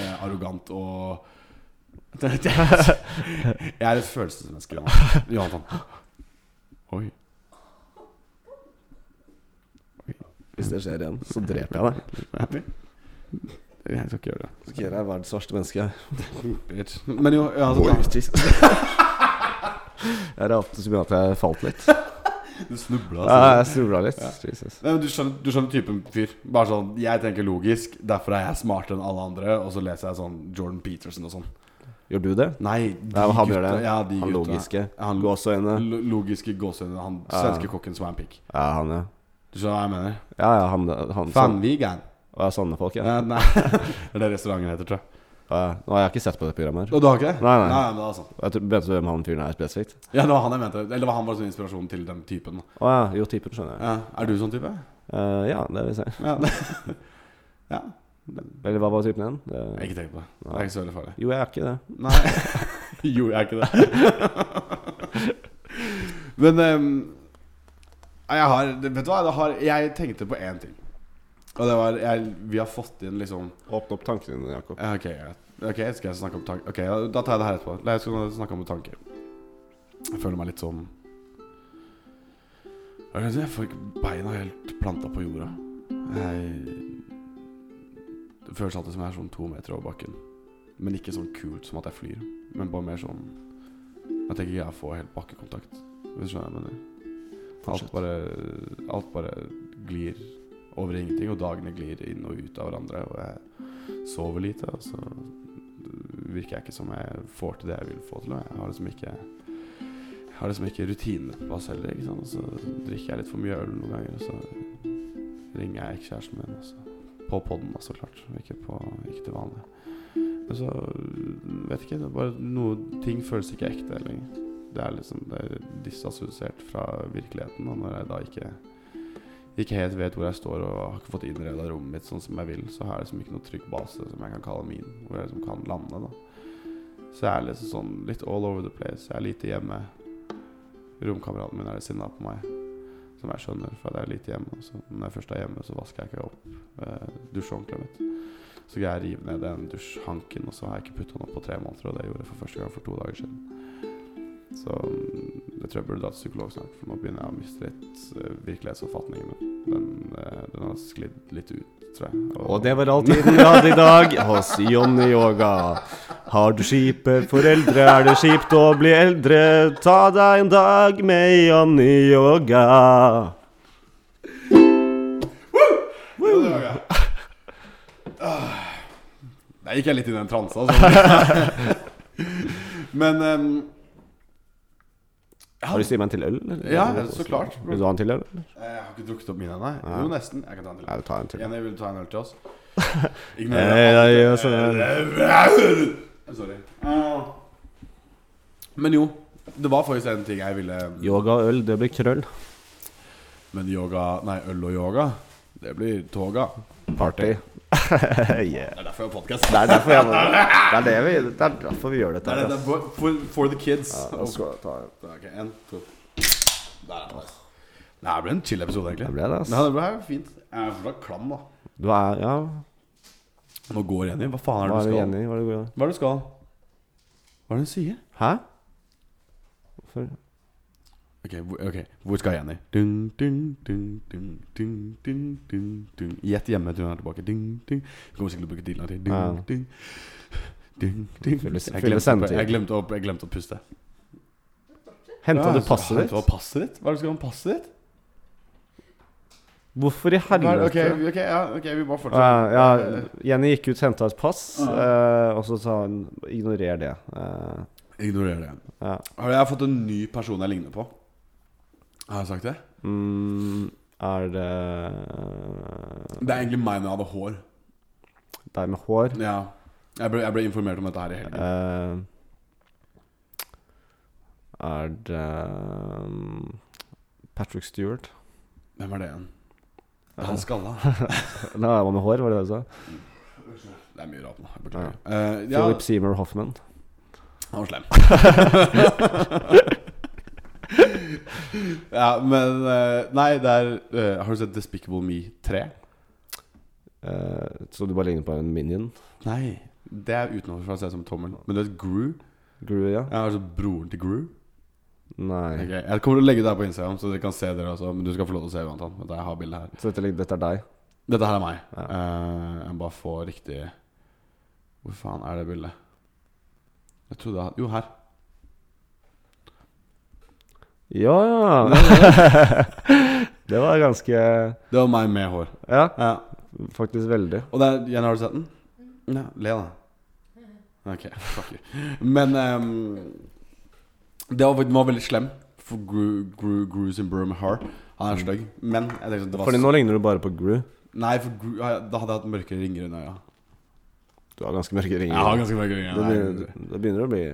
Speaker 2: 100 eh, arrogant og Jeg er et følelsesmenneske, Johan- Johansen. Oi.
Speaker 1: Hvis det skjer igjen, så dreper jeg deg.
Speaker 2: Jeg skal ikke gjøre det.
Speaker 1: Så Kira er verdens verste menneske.
Speaker 2: Bitch. Men jo, ja, altså,
Speaker 1: Jeg rapte så mye at jeg falt litt. Altså-
Speaker 2: Du snubla,
Speaker 1: Ja, jeg snubla litt. Jesus.
Speaker 2: Nei, men du skjønner, du skjønner typen fyr. Bare sånn Jeg tenker logisk, derfor er jeg smartere enn alle andre. Og så leser jeg sånn Jordan Peterson og sånn.
Speaker 1: Gjør du det?
Speaker 2: Nei, de
Speaker 1: Ja, men han gjør det.
Speaker 2: gutta- Ja, de
Speaker 1: Han
Speaker 2: gutta.
Speaker 1: logiske.
Speaker 2: Han
Speaker 1: Gåseøyne.
Speaker 2: lo- logiske gåsehudene. Han
Speaker 1: Ja.
Speaker 2: svenske kokken som er en pikk.
Speaker 1: Ja, han, ja.
Speaker 2: Du skjønner hva jeg mener?
Speaker 1: Ja, ja, han, han sånn.
Speaker 2: Fanvigan.
Speaker 1: Ja, sånne folk, ja.
Speaker 2: Nei, nei. Det er det restauranten heter, tror jeg.
Speaker 1: ja. Nå har jeg ikke sett på det programmet her.
Speaker 2: Og du har ikke det?
Speaker 1: Nei, nei.
Speaker 2: men det er sånn.
Speaker 1: Jeg tror, vet du hvem han fyren er spesifikt?
Speaker 2: Ja, det var han jeg mente. Eller det var han bare sånn inspirasjon til den typen?
Speaker 1: Å ja, jo, typen skjønner jeg.
Speaker 2: Ja. Er du sånn type?
Speaker 1: Eh, ja, det vil si.
Speaker 2: Ja. ja.
Speaker 1: Eller hva var typen igjen?
Speaker 2: Jeg har
Speaker 1: Det-
Speaker 2: ikke tenkt på det. Det er ikke så veldig farlig.
Speaker 1: Jo, jeg er ikke det.
Speaker 2: Nei. jo, jeg er ikke det. Men ehm, nei, jeg har Vet du hva? Det har, jeg tenkte på én ting. Og det var jeg, Vi har fått inn liksom
Speaker 1: Åpne opp tankene dine, Jakob.
Speaker 2: ja, Ok, ja. Ok, skal jeg snakke om tanker? Ok, da- Da tar jeg det her etterpå. Nei, jeg skal snakke om tanker. Jeg føler meg litt sånn Hva kan jeg si? Jeg får ikke beina helt planta på jorda. Jeg Det føles alltid som jeg er sånn to meter over bakken. Men ikke sånn kult som at jeg flyr. Men bare mer sånn Jeg tenker ikke jeg får helt bakkekontakt. Hvis du skjønner hva jeg mener. Alt
Speaker 1: Fortsett.
Speaker 2: bare, alt bare glir over i ingenting, og dagene glir inn og ut av hverandre. Og jeg sover lite, og så virker jeg ikke som jeg får til det jeg vil få til. og Jeg har liksom ikke jeg har liksom ikke rutinene på plass heller. ikke sant? Og så drikker jeg litt for mye øl noen ganger, og så ringer jeg ekskjæresten min. Og så på podden, da, så klart. og Ikke, på, ikke til vanlig. Men så øh, vet ikke. det er bare noe, Ting føles ikke ekte lenger. Det er liksom det er disassosiert fra virkeligheten. Og når jeg da ikke ikke helt vet hvor jeg står og har ikke fått innreda rommet mitt sånn som jeg vil, så har jeg liksom ikke noen trygg base som jeg kan kalle min, hvor jeg liksom kan lande, da. Så jeg er liksom sånn litt all over the place. Jeg er lite hjemme. Romkameraten min er litt sinna på meg, som jeg skjønner, for at jeg er lite hjemme. Så når jeg først er hjemme, så vasker jeg ikke opp eh, dusjhåndkleet mitt. Så greier jeg å rive ned den dusjhanken, og så har jeg ikke putta den opp på tre måneder, og det gjorde jeg for første gang for to dager siden. Så mm, jeg tror jeg burde dra til psykolog snart, for nå begynner jeg å miste litt eh, virkelighetsoppfatningen min. Den, eh, den har sklidd litt ut, tror jeg.
Speaker 1: Og det var all tiden vi hadde i dag hos Jonny Yoga. Har du kjipe foreldre, er det kjipt å bli eldre. Ta deg en dag med Jonny Yoga.
Speaker 2: Ja, det var gøy. Ah. Der gikk jeg litt inn i den transa. Altså. Men ehm,
Speaker 1: Har du stilt meg en til øl? eller?
Speaker 2: Ja, så klart. Eh,
Speaker 1: Vil du ha en til øl? eller?
Speaker 2: Jeg har ikke drukket opp min ennå. Jo, nesten. Jeg kan ta en til.
Speaker 1: Nei, ta en til.
Speaker 2: Jenny, vil du ta en øl til oss?
Speaker 1: Nei, nei, gjør sånn,
Speaker 2: Ignorer Eh, Sorry. Men jo, det var faktisk en ting jeg ville
Speaker 1: Yoga og øl, det blir krøll.
Speaker 2: Men yoga Nei, øl og yoga, det blir toga.
Speaker 1: Party. yeah.
Speaker 2: Det er derfor jeg har podkast.
Speaker 1: Det er derfor jeg må Det er, det vi, det er derfor vi gjør dette.
Speaker 2: Det
Speaker 1: her,
Speaker 2: er
Speaker 1: ass.
Speaker 2: for, for, for the kids.
Speaker 1: Ja, jeg skal ta en.
Speaker 2: Ok, en, to Der er det Det her ble en chill episode, egentlig.
Speaker 1: Det ble det, ass.
Speaker 2: Nei, det ble fint. Jeg er fortsatt klam, da.
Speaker 1: Du er Ja,
Speaker 2: Nå går Jenny. Hva faen
Speaker 1: hva
Speaker 2: er
Speaker 1: er
Speaker 2: det du
Speaker 1: du
Speaker 2: skal?
Speaker 1: enig i? Hva er det du gjør?
Speaker 2: Hva er det du skal? Hva er det hun sier?
Speaker 1: Hæ? Hvorfor?
Speaker 2: Ok, hvor, ok, hvor skal Jenny? Dun, dun, dun, dun, dun, dun, dun, dun. Gjett hjemme til hun er tilbake. Dun, dun. Hun kommer sikkert til å bruke tiden her til.
Speaker 1: Ja.
Speaker 2: Dun, dun. Dun, dun.
Speaker 1: Fylle-
Speaker 2: Jeg
Speaker 1: fylle
Speaker 2: glemte,
Speaker 1: sendetid.
Speaker 2: å- jeg, glemte å, jeg glemte å puste.
Speaker 1: Henta du
Speaker 2: så-
Speaker 1: passet
Speaker 2: Hva
Speaker 1: ditt?
Speaker 2: passet ditt? Hva er det du skal ha med passet ditt?
Speaker 1: Hvorfor i
Speaker 2: Hva er det-
Speaker 1: helvete?
Speaker 2: ok, ok, ja, ok, vi bare
Speaker 1: Ja,
Speaker 2: fortsetter.
Speaker 1: ja, Jenny gikk ut, henta et pass, eh, og så sa hun 'ignorer det'. Eh,
Speaker 2: Ignorer det.
Speaker 1: ja.
Speaker 2: Har jeg fått en ny person jeg ligner på? Har jeg sagt det?
Speaker 1: mm, er det
Speaker 2: Det er egentlig meg når jeg hadde hår.
Speaker 1: deg med hår?
Speaker 2: Ja. Jeg ble, jeg ble informert om dette her i helgen.
Speaker 1: Eh, er det um, Patrick Stewart?
Speaker 2: Hvem er det igjen? Det er Han skalla.
Speaker 1: Nei, det var med hår, var det det du sa?
Speaker 2: Det er mye rart nå. jeg Beklager. Eh, ja,
Speaker 1: Philip Seymour Hoffman.
Speaker 2: han var slem. ja, men eh, Nei, det er eh, Har du sett Despicable Me 3?
Speaker 1: Eh, så du bare ligner på en minion?
Speaker 2: Nei. Det er utenfor å se som tommelen. Men du vet Gru?
Speaker 1: Gru, ja?
Speaker 2: Jeg har sett broren til Gru.
Speaker 1: Nei.
Speaker 2: Ok, Jeg kommer til å legge det her på Instagram, så dere kan se dere også. Men du skal få lov til å se Jonathan. Vet du, Jeg har bildet her.
Speaker 1: Så dette, dette er deg?
Speaker 2: Dette her er meg.
Speaker 1: Ja.
Speaker 2: Eh, jeg bare får riktig Hvor faen er det bildet? Jeg trodde jeg hadde Jo, her.
Speaker 1: Ja, ja. det var ganske
Speaker 2: Det var meg med hår.
Speaker 1: Ja,
Speaker 2: Ja.
Speaker 1: faktisk veldig.
Speaker 2: Og det er Jenny, har du sett den? Ja, le, da. Ok, fuck you. Men ehm, det var, fakt- den var veldig slem. For Gru, Gru, Gru sin bror med hår. Han er stygg. Men jeg tenkte at det var
Speaker 1: Mm. Fordi nå ligner du bare på Gru.
Speaker 2: Nei, for Gru, da hadde jeg hatt mørkere ringer under øya.
Speaker 1: Du har ganske mørke ringer.
Speaker 2: Jeg har ganske mørke ringer.
Speaker 1: det, begynner, det begynner å bli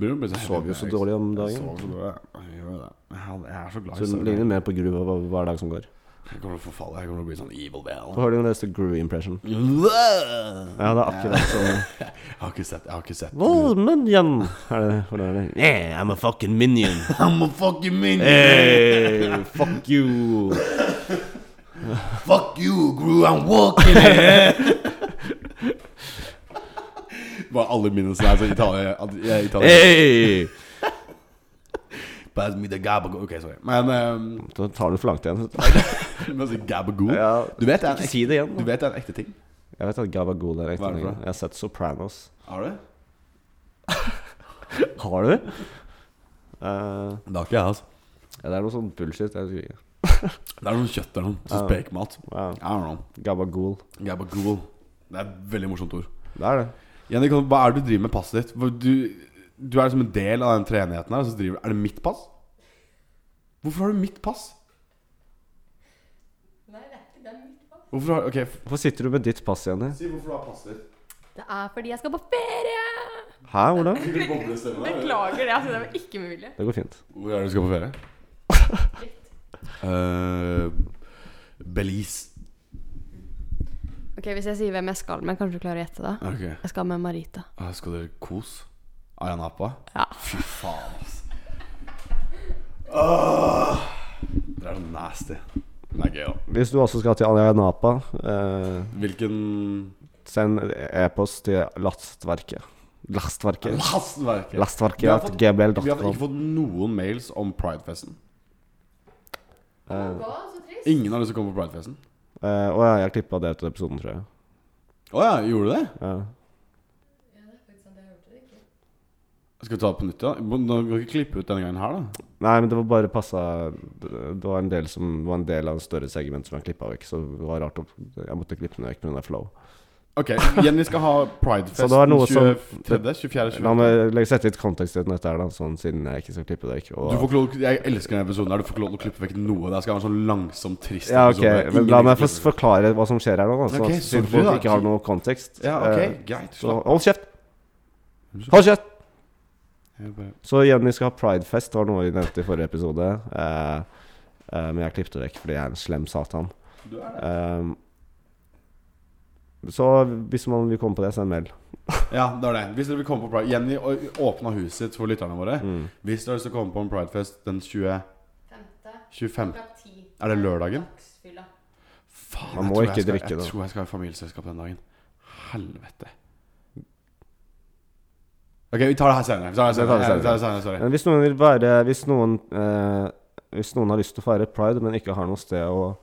Speaker 2: Begynner å bli så-
Speaker 1: Du sover jo så dårlig om dagen.
Speaker 2: Jeg sover så dårlig. Jeg gjør det. Jeg jeg er så glad
Speaker 1: Så du
Speaker 2: søvn.
Speaker 1: ligner mer på Gru hver, hver dag som går.
Speaker 2: Jeg kommer til å forfalle. Jeg kommer til å bli sånn evil
Speaker 1: Hva
Speaker 2: bell.
Speaker 1: har du den neste Gru-impression?
Speaker 2: Jeg
Speaker 1: Ja, det er akkurat sånn
Speaker 2: har ikke sett Jeg har ikke sett
Speaker 1: Well, minion! Er det, hvordan er det? Yeah, I'm a fucking minion.
Speaker 2: I'm a fucking minion!
Speaker 1: Eh. Hey, fuck you!
Speaker 2: Fuck you, Gru, I'm walking here! Bare alle mine som er så italienske. Italien.
Speaker 1: Eh. Hey!
Speaker 2: Pass me the gabago. Ok, sorry. Men um,
Speaker 1: Da tar du for langt igjen.
Speaker 2: men altså, gabago
Speaker 1: Ja,
Speaker 2: Du vet det er en
Speaker 1: Ikke
Speaker 2: ekte,
Speaker 1: si det igjen.
Speaker 2: du
Speaker 1: da.
Speaker 2: vet det er en ekte ting?
Speaker 1: Jeg vet at Gabagool er ekte.
Speaker 2: Hva er det for
Speaker 1: ting.
Speaker 2: noe?
Speaker 1: Jeg har sett Sopranos.
Speaker 2: Har du?
Speaker 1: Har du? Eh,
Speaker 2: Det har ikke jeg, altså.
Speaker 1: ja, det er noe sånn bullshit. Jeg husker ikke.
Speaker 2: Det er noe kjøtt eller noe.
Speaker 1: Ja.
Speaker 2: Spekmat.
Speaker 1: Wow.
Speaker 2: I don't know.
Speaker 1: Gabagool.
Speaker 2: Gabagool. Det er et veldig morsomt ord.
Speaker 1: Det er det.
Speaker 2: Jenny, kan- hva er det du driver med passet ditt? Hvor Du, du er liksom en del av den treenigheten her. Og så driver, er det mitt pass? Hvorfor har du mitt pass? Nei, det er ikke det er mitt pass. Hvorfor har, ok, f-
Speaker 1: Hvorfor sitter du med ditt pass, Jenny?
Speaker 2: Si hvorfor du har passet ditt.
Speaker 3: Det er fordi jeg skal på ferie!
Speaker 1: Hæ, hvordan?
Speaker 2: Sikkert boblestemme, eller?
Speaker 3: Beklager det. altså Det var ikke med vilje.
Speaker 1: Det går fint.
Speaker 2: Hvor er det du skal på ferie? Eh, Belize.
Speaker 3: Ok, Hvis jeg sier hvem jeg skal med, kanskje du klarer å gjette det?
Speaker 2: Ok.
Speaker 3: Jeg skal med Marita.
Speaker 2: Ah, Skal dere kos? Ayia Napa?
Speaker 3: Ja.
Speaker 2: Fy faen, ass. Åh! Dere er så nasty. Men Det er gøy, da.
Speaker 1: Hvis du også skal til Ayanapa, eh,
Speaker 2: Hvilken
Speaker 1: send e-post til Lastverket. Lastverket.
Speaker 2: Lastverket. Vi
Speaker 1: Lastverket
Speaker 2: har
Speaker 1: at
Speaker 2: fått- Vi har ikke
Speaker 1: gbl.com.
Speaker 2: fått noen mails om Pridefesten.
Speaker 1: Eh,
Speaker 2: Ingen har lyst til å komme på Pridefesten.
Speaker 1: eh, Å ja, jeg klippa det ut av episoden, tror jeg.
Speaker 2: Å ja, gjorde du det?
Speaker 1: Ja.
Speaker 2: Skal vi ta det på nytt, da? Må- Nå kan vi ikke klippe ut denne gangen her, da.
Speaker 1: Nei, men det var bare passa Det det var en del som var en del av en større segment som jeg klippa vekk, så det var rart å Jeg måtte klippe den vekk pga. flow.
Speaker 2: Ok, Jenny skal ha
Speaker 1: Så
Speaker 2: pridefest
Speaker 1: det var
Speaker 2: den
Speaker 1: noe som-
Speaker 2: 23., 24.,
Speaker 1: La
Speaker 2: 25.
Speaker 1: meg legge- sette litt kontekst i dette, her da, sånn, siden jeg ikke skal klippe det. Ikke? Og,
Speaker 2: Du får ikke lov, jeg elsker denne episoden. der Du får ikke lov til å klippe vekk noe. Det skal være en sånn langsom, trist
Speaker 1: ja, ok,
Speaker 2: episode.
Speaker 1: men
Speaker 2: Ingen
Speaker 1: La meg
Speaker 2: klippe
Speaker 1: først
Speaker 2: vekk.
Speaker 1: forklare hva som skjer her nå, da, så,
Speaker 2: Ok,
Speaker 1: at- siden
Speaker 2: sorry,
Speaker 1: folk
Speaker 2: da.
Speaker 1: ikke har noe kontekst.
Speaker 2: Ja,
Speaker 1: Eh,
Speaker 2: ok, greit.
Speaker 1: så
Speaker 2: Slapp
Speaker 1: hold kjeft!
Speaker 2: av.
Speaker 1: Hold kjeft!
Speaker 2: Jeg bare-
Speaker 1: Så Jenny skal ha pridefest, det var noe vi nevnte i forrige episode. Eh, eh, men jeg klippet det vekk fordi jeg er en slem satan.
Speaker 2: Du er det.
Speaker 1: Ehm, så hvis man vil komme på det, send mail.
Speaker 2: Ja, det var det. Hvis dere vil komme på Pride Jenny å- åpna huset sitt for lytterne våre.
Speaker 1: Mm.
Speaker 2: Hvis dere har lyst til å komme på en Pridefest den 20, 25 Er det lørdagen? Faen,
Speaker 1: Man
Speaker 2: jeg
Speaker 1: må
Speaker 2: tror
Speaker 1: ikke
Speaker 2: jeg skal,
Speaker 1: drikke da.
Speaker 2: Jeg tror jeg skal ha familieselskap den dagen. Helvete. Ok, vi tar det her senere. Vi tar det
Speaker 1: Vi tar det
Speaker 2: senere.
Speaker 1: senere.
Speaker 2: Vi tar det senere sorry.
Speaker 1: Men hvis noen vil være Hvis noen, eh, hvis noen har lyst til å feire pride, men ikke har noe sted å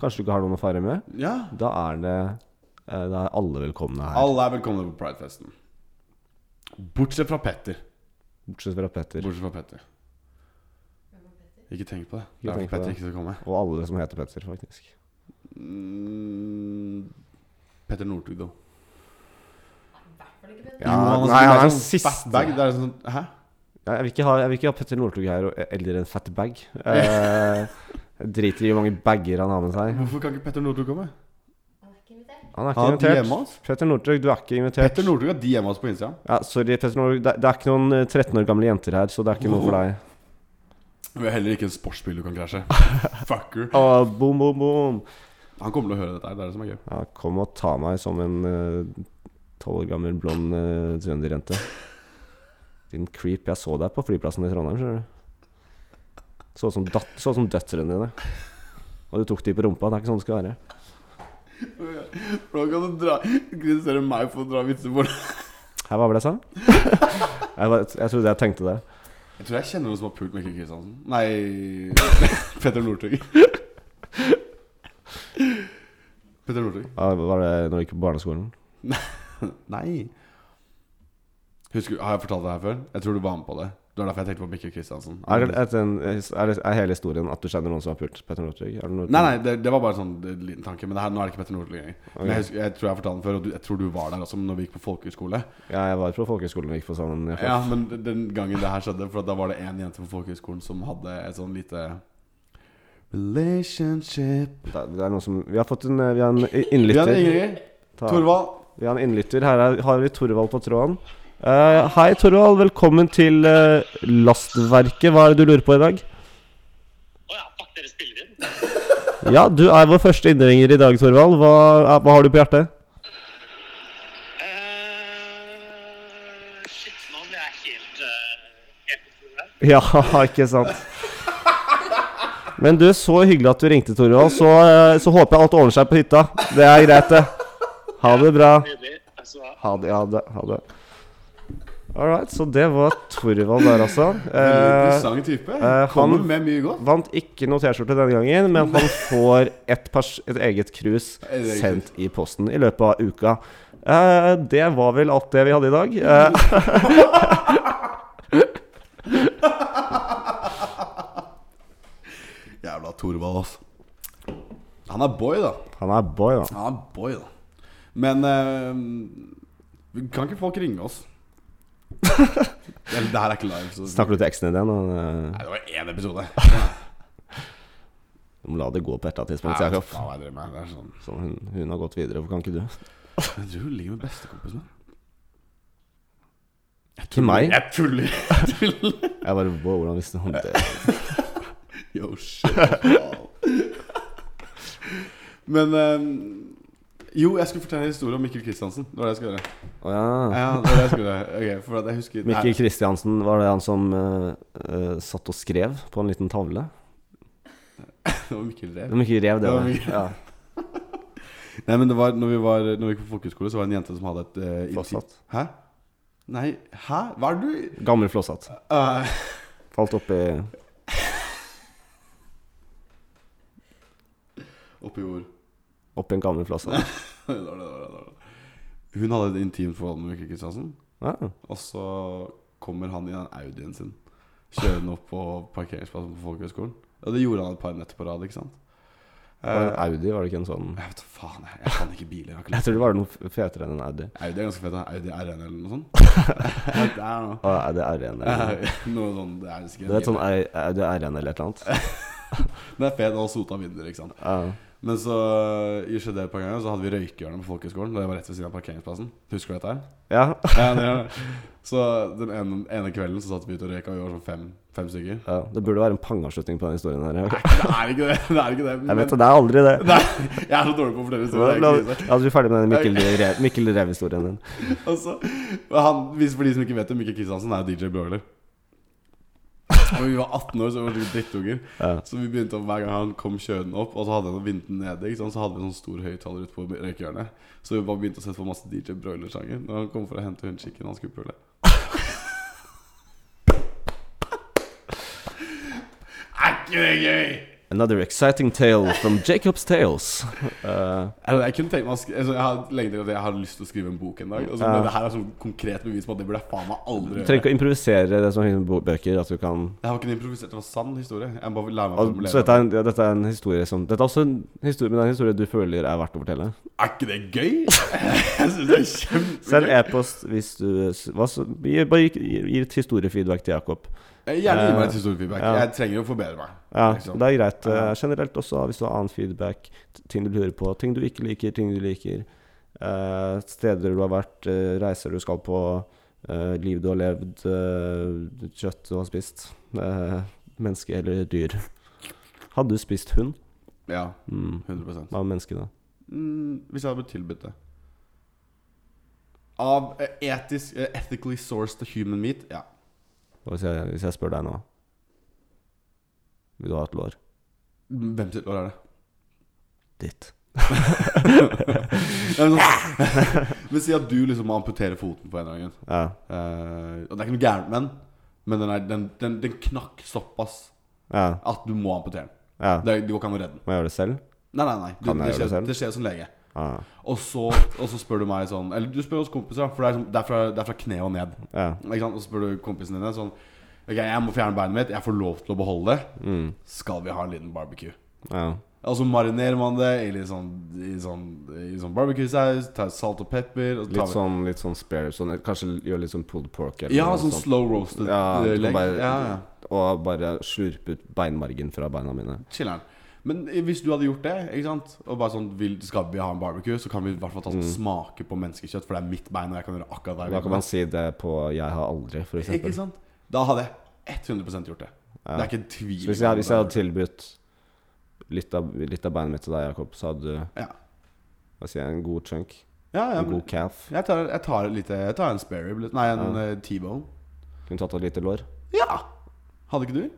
Speaker 1: Kanskje du ikke har noen å feire med?
Speaker 2: Ja.
Speaker 1: Da er det eh, Da er alle velkomne her.
Speaker 2: Alle er velkomne på Pridefesten. Bortsett fra Petter.
Speaker 1: Bortsett fra Petter.
Speaker 2: Bortsett fra Petter. Ikke tenk på det.
Speaker 1: Ikke
Speaker 2: Det
Speaker 1: tenk
Speaker 2: er
Speaker 1: på
Speaker 2: derfor Petter
Speaker 1: det.
Speaker 2: ikke skal komme.
Speaker 1: Og alle som heter Petter, faktisk.
Speaker 2: Mm, Petter Northug, da.
Speaker 1: Ja,
Speaker 2: Jo, han har
Speaker 1: nei,
Speaker 2: sånn-
Speaker 1: han er
Speaker 2: det
Speaker 1: den
Speaker 2: sånn
Speaker 1: siste.
Speaker 2: fatbag, Det er sånn, hæ?
Speaker 1: Nei, Jeg vil ikke ha, jeg vil ikke ha Petter Northug her og- e- eller en fat bag. Eh, jeg driter i hvor mange bager han har med seg.
Speaker 2: Hvorfor kan ikke Petter Northug komme?
Speaker 1: Han er ikke
Speaker 2: Han har de hjemme
Speaker 1: invitert.
Speaker 2: hans.
Speaker 1: Petter Northug, du er ikke invitert.
Speaker 2: Petter Northug har de hjemme hans på Instagram.
Speaker 1: Ja, sorry, Petter Northug. Det, det er ikke noen eh, 13 år gamle jenter her, så det er ikke noe for deg.
Speaker 2: Vi har heller ikke en sportsbil du kan krasje. Fucker.
Speaker 1: Å, boom, boom, boom.
Speaker 2: Han kommer til å høre dette her. Det er det som er gøy.
Speaker 1: Ja, kom og ta meg som en eh, tolv år gammel blond eh, trønderjente. Din creep. Jeg så deg på flyplassen i Trondheim, skjønner du. Så ut som, dat så ut som døtrene dine. Og du tok de på rumpa. Det er ikke sånn det skal være.
Speaker 2: Hvordan kan du dra kritisere meg for å dra vitser på det?
Speaker 1: Her var vel det jeg sa? Jeg, bare, jeg trodde jeg tenkte det.
Speaker 2: Jeg tror jeg kjenner noen som har pult Mikkel Kristiansen. Nei Petter Northug. Petter Northug.
Speaker 1: Ja, var det når du gikk på barneskolen?
Speaker 2: Nei. Husker, har jeg fortalt det her før? Jeg tror du var med på det. Det var derfor jeg tenkte på Mikkel Kristiansen.
Speaker 1: Er, det, er, det en, er, det, er hele historien at du kjenner noen som har pult Petter Northug? Er det noe-
Speaker 2: Nei, nei, det, det var bare en sånn eh, liten tanke. Men det her, nå er det ikke Petter Northug lenger.
Speaker 1: Ok.
Speaker 2: Men jeg, husker, jeg tror jeg har fortalt den før, og du, jeg tror du var der også når vi gikk på folkehøyskole.
Speaker 1: Ja, jeg var på folkehøyskolen og gikk på sammen. Jeg,
Speaker 2: Ja, men den gangen det her skjedde, for da var det en jente på folkehøyskolen som hadde et sånn lite Relationship
Speaker 1: det, er- det er noen som Vi har fått en, eh, vi har en
Speaker 2: Vi hadde
Speaker 1: innlytter.
Speaker 2: Ingrid.
Speaker 1: Ta-
Speaker 2: Torvald.
Speaker 1: Vi har en innlytter. Her er, har vi Torvald på tråden. Eh, hei, Torvald. Velkommen til eh, Lastverket. Hva er det du lurer på i dag?
Speaker 5: Å ja, fuck, dere spiller inn?
Speaker 1: Ja, du er vår første innringer i dag, Torvald. Hva, er- hva har du på hjertet?
Speaker 5: Eh, shit, nå ble jeg helt eh, helt på sporet her.
Speaker 1: Ja, ikke sant? Men du, så hyggelig at du ringte, Torvald. Så, eh, så håper jeg alt ordner seg på hytta. Det er greit, det. Ha det bra.
Speaker 5: Nydelig. Altså,
Speaker 1: Ha det, ha det. ha det All right, så det var Torvald der, altså.
Speaker 2: Veldig
Speaker 1: Eh,
Speaker 2: interessant type.
Speaker 1: han-
Speaker 2: Kommer med mye godt.
Speaker 1: Vant ikke noe T-skjorte denne gangen, men han får et, pers et eget krus
Speaker 2: Et eget
Speaker 1: sendt i posten i løpet av uka. Eh, det var vel alt det vi hadde i dag. Eh,
Speaker 2: Jævla Torvald, altså. Han er boy, da.
Speaker 1: han er boy, da.
Speaker 2: Han er boy, da. Men eh, kan ikke folk ringe oss? Eller, det her er ikke live. Så.
Speaker 1: Snakker du til eksen din igjen? og, eh,
Speaker 2: Nei, det var én episode.
Speaker 1: Du må la det gå på et eller annet
Speaker 2: Nei,
Speaker 1: tidspunkt.
Speaker 2: hva
Speaker 1: Jakob.
Speaker 2: faen er det jeg driver med? Det er sånn
Speaker 1: Så hun, hun har gått videre, hvorfor kan ikke du?
Speaker 2: Jeg tror hun ligger med bestekompisen min.
Speaker 1: Ikke meg?
Speaker 2: Jeg tuller! Jeg tuller.
Speaker 1: Jeg bare wow, hvordan visste hun det?
Speaker 2: Yo, shit. wow. Men eh, Jo, jeg skulle fortelle en historie om Mikkel Kristiansen. Det var det jeg skulle gjøre.
Speaker 1: Å ja.
Speaker 2: Ja, det var det jeg skulle gjøre. Ok, for at jeg husker
Speaker 1: Mikkel
Speaker 2: Nei,
Speaker 1: Kristiansen, var det han som eh, eh, satt og skrev på en liten tavle?
Speaker 2: det var Mikkel Rev.
Speaker 1: Det var Mikkel Rev, det.
Speaker 2: Det var
Speaker 1: var det.
Speaker 2: Mikkel-
Speaker 1: Ja,
Speaker 2: Nei, men det var Når vi, var, når vi gikk på folkehøyskole, så var det en jente som hadde et eh, inti-
Speaker 1: Fastsatt.
Speaker 2: Hæ? Nei, hæ? Hva er det du
Speaker 1: Gammel flåsatt.
Speaker 2: Eh,
Speaker 1: Falt oppi
Speaker 2: Oppi jord.
Speaker 1: opp i en gammel flåsatt.
Speaker 2: Det var det, det var det, det var det. Hun hadde et intimt forhold med Mikkel Kristiansen.
Speaker 1: Ja.
Speaker 2: Og så kommer han i den Audien sin kjørende opp på parkeringsplassen på folkehøgskolen. Og det gjorde han et par netter på rad, ikke sant.
Speaker 1: Det var en Audi, var det ikke en sånn
Speaker 2: Jeg vet da faen, jeg, jeg kan ikke biler. Jeg har ikke
Speaker 1: Jeg tror det var noe f- fetere enn en Audi.
Speaker 2: Audi er ganske fett. da. Audi RN eller noe sånt. det er noe.
Speaker 1: Å, Audi RN eller
Speaker 2: noe sånn, det er sikkert
Speaker 1: Du vet sånn Au- Audi RN eller et eller annet?
Speaker 2: Det er fet å ha sota vinduer, ikke sant.
Speaker 1: Ja.
Speaker 2: Men så i Skjedel på gangen så hadde vi røykehjørne på folkehøgskolen. Det var rett ved siden av parkeringsplassen. Husker du dette her?
Speaker 1: ja.
Speaker 2: Ja, det gjør det. Så den ene, ene kvelden så satt vi ute og røyka, og vi var sånn fem, fem stykker.
Speaker 1: ja. Det burde være en pangavslutning på den historien her. Jeg,
Speaker 2: Det er ikke det. det, er ikke det.
Speaker 1: jeg vet det, det er aldri det.
Speaker 2: Nei, jeg er så dårlig på å
Speaker 1: La,
Speaker 2: fortelle historier.
Speaker 1: la,
Speaker 2: det er krise.
Speaker 1: ja, du Altså, er ferdig med den Mikkel, Re- Mikkel Rev-historien din.
Speaker 2: Og så- og han, hvis for de som ikke vet det, Mikkel Kristiansen er jo DJ Broiler. Og vi var 18 år, så vi var skikkelig drittunger.
Speaker 1: Ja.
Speaker 2: Så vi begynte å, hver gang han kom kjørende opp, og så hadde han vinden nede, ikke sant? så hadde vi en sånn stor høyttaler ute på røykehjørnet. Så vi bare begynte å sette på masse DJ Broiler-sanger når han kom for å hente hun chicken han skulle pule. Er ikke det gøy?
Speaker 1: Another exciting tale from Jacob's Tales. Eh,
Speaker 2: Altså, jeg kunne tenkt meg å sk- altså, Jeg har lenge tenkt at jeg har lyst til å skrive en bok en dag. Altså,
Speaker 1: Ja.
Speaker 2: Men det her er sånn konkret bevis på at det burde jeg faen meg
Speaker 1: du
Speaker 2: aldri gjøre.
Speaker 1: trenger ikke å improvisere det som finnes i bo- bøker. At du kan
Speaker 2: Det her var ikke en improvisert, det var sann historie. Jeg må bare lære meg å
Speaker 1: Al-
Speaker 2: formulere
Speaker 1: Så dette er, en, ja, dette er en historie som Dette er også en historie, men det er en historie du føler er verdt å fortelle.
Speaker 2: Er ikke det gøy? Jeg synes det er
Speaker 1: Send
Speaker 2: kjempegøy.
Speaker 1: e-post hvis du hva, så, gi, Bare gi, gi, gi et historiefeedback til Jakob.
Speaker 2: Jeg Gjerne gi meg
Speaker 1: Eh,
Speaker 2: et historiefeedback.
Speaker 1: ja.
Speaker 2: Jeg trenger å forbedre meg.
Speaker 1: Ja,
Speaker 2: liksom.
Speaker 1: det er greit.
Speaker 2: Ja.
Speaker 1: Eh, generelt også, hvis du har annen feedback, t- ting du lurer på, ting du ikke liker, ting du liker, eh, steder du har vært, eh, reiser du skal på, eh, liv du har levd, eh, kjøtt du har spist, eh, menneske eller dyr. Hadde du spist hund?
Speaker 2: Ja,
Speaker 1: Mm.
Speaker 2: 100
Speaker 1: Hva med menneske, da?
Speaker 2: mm, Hvis jeg hadde blitt tilbudt det. Av eh, etisk eh, Ethically sourced human meat? Ja.
Speaker 1: Hva Hvis jeg, hvis jeg spør deg nå Vil du ha et lår?
Speaker 2: Mm, Hvem sitt år er det?
Speaker 1: Ditt.
Speaker 2: Ja, men sånn- Men si at du liksom må amputere foten på en eller annen grunn.
Speaker 1: Ja.
Speaker 2: Eh, og det er ikke noe gærent med den, men den, er, den, den, den knakk såpass
Speaker 1: Ja.
Speaker 2: at du må amputere den.
Speaker 1: ja.
Speaker 2: Det, det går ikke an å redde den.
Speaker 1: Må jeg gjøre det selv?
Speaker 2: Nei, nei, nei. Du,
Speaker 1: Kan jeg
Speaker 2: det,
Speaker 1: gjøre det
Speaker 2: skjer,
Speaker 1: selv?
Speaker 2: det skjer som lege.
Speaker 1: Ja.
Speaker 2: Og så, og så spør du meg sånn Eller du spør hos kompiser, da, for det er, sånn, det er, fra, det er fra kne og ned.
Speaker 1: ja.
Speaker 2: Ikke sant? Og så spør du kompisene dine sånn Ok, jeg må fjerne beinet mitt. Jeg får lov til å beholde det.
Speaker 1: Mm.
Speaker 2: Skal vi ha en liten barbecue?
Speaker 1: ja.
Speaker 2: Og så marinerer man det i litt sånn, i sånn, i sånn barbecue-saus. Tar salt og pepper. Og så tar
Speaker 1: Litt
Speaker 2: vi-
Speaker 1: sånn, litt sånn spare, sånn, kanskje gjøre litt sånn pulled pork? Eller
Speaker 2: Ja,
Speaker 1: noe
Speaker 2: sånn
Speaker 1: sånt.
Speaker 2: slow roasted
Speaker 1: Ja,
Speaker 2: eh,
Speaker 1: du kan
Speaker 2: leg.
Speaker 1: bare,
Speaker 2: Ja, ja.
Speaker 1: Og bare slurpe ut beinmargen fra beina mine.
Speaker 2: Chiller'n. Men hvis du hadde gjort det, ikke sant og bare sånn vil, Skal vi ha en barbecue, så kan vi i hvert fall ta sånn smake på menneskekjøtt, for det er mitt bein, og jeg kan gjøre akkurat hva
Speaker 1: Da
Speaker 2: jeg vil.
Speaker 1: Mm. kan man si det på 'jeg har aldri', for
Speaker 2: Ikke
Speaker 1: eksempel.
Speaker 2: sant? Da hadde jeg 100 gjort det.
Speaker 1: Ja.
Speaker 2: Det er ikke en tvil.
Speaker 1: Så hvis jeg, hvis jeg hadde tilbudt litt av, litt av beinet mitt til deg, Jakob, så hadde du
Speaker 2: Ja.
Speaker 1: hva sier jeg, en god chunk?
Speaker 2: ja, ja,
Speaker 1: En
Speaker 2: men
Speaker 1: god calf?
Speaker 2: jeg tar, jeg tar et lite Jeg tar en spare rib. litt- Nei, en eh, T-bone.
Speaker 1: Kunne tatt av et lite lår?
Speaker 2: Ja! Hadde ikke du?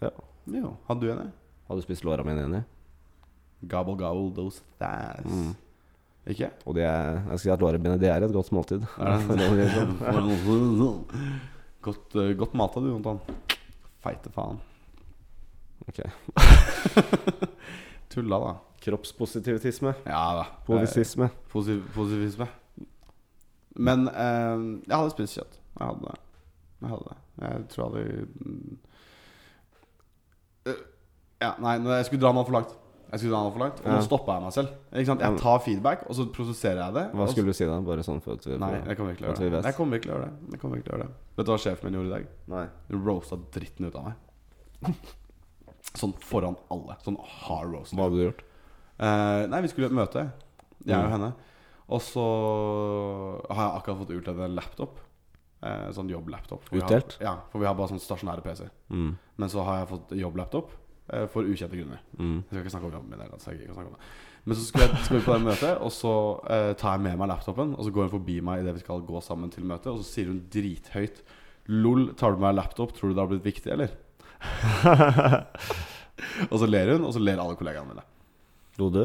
Speaker 1: Ja.
Speaker 2: Jo. Hadde du en? jeg?
Speaker 1: Hadde du spist låra mine enig?
Speaker 2: Gobble gobble those thighs. Ikke?
Speaker 1: Og det er, jeg skal si at låra mine det er et godt måltid. sånn.
Speaker 2: godt, eh, godt mata du, Jontan. Feite faen.
Speaker 1: Ok.
Speaker 2: Tulla, da.
Speaker 1: Kroppspositivitisme.
Speaker 2: Ja da.
Speaker 1: Povisisme.
Speaker 2: Eh, Positiv, positivisme. Men eh, jeg hadde spist kjøtt. Jeg hadde det. Jeg hadde det. Jeg tror jeg hadde mm. Eh, Ja, nei, nå- jeg skulle dra den altfor langt. Jeg skulle dra den alt for langt Og nå
Speaker 1: Ja.
Speaker 2: stoppa jeg meg selv. Ikke sant?
Speaker 1: Ja, men-
Speaker 2: Jeg tar feedback, og så prosesserer jeg det.
Speaker 1: Hva skulle du si da? Bare sånn for at vi
Speaker 2: Nei, jeg kommer ikke til å
Speaker 1: at vi
Speaker 2: gjøre det.
Speaker 1: vet.
Speaker 2: Jeg kommer ikke til å gjøre det. Jeg kommer ikke til å gjøre det. Vet du hva sjefen min gjorde i dag?
Speaker 1: Nei.
Speaker 2: Hun roasta dritten ut av meg. Sånn foran alle. Sånn hard roast.
Speaker 1: Hva hadde du gjort?
Speaker 2: Eh, nei, vi skulle møte Jeg og
Speaker 1: Mm.
Speaker 2: henne Og så har jeg akkurat fått utdelt en laptop eh, Sånn jobblaptop For vi har-
Speaker 1: Utdelt?
Speaker 2: Ja, for vi har bare sånn stasjonære PC
Speaker 1: Mm.
Speaker 2: Men så har jeg fått jobblaptop eh, For ukjente grunner
Speaker 1: Mm.
Speaker 2: Jeg skal ikke snakke om jobben min eller, så jeg gidder ikke å snakke om det Men så skulle jeg, skal vi på det møtet Og så eh, tar jeg med meg laptopen Og så går hun forbi meg i det vi skal gå sammen til møtet Og så sier hun drithøyt Lol, tar du med meg laptop? Tror du det har blitt viktig, eller? og så ler hun, og så ler alle kollegaene mine
Speaker 1: Lo du?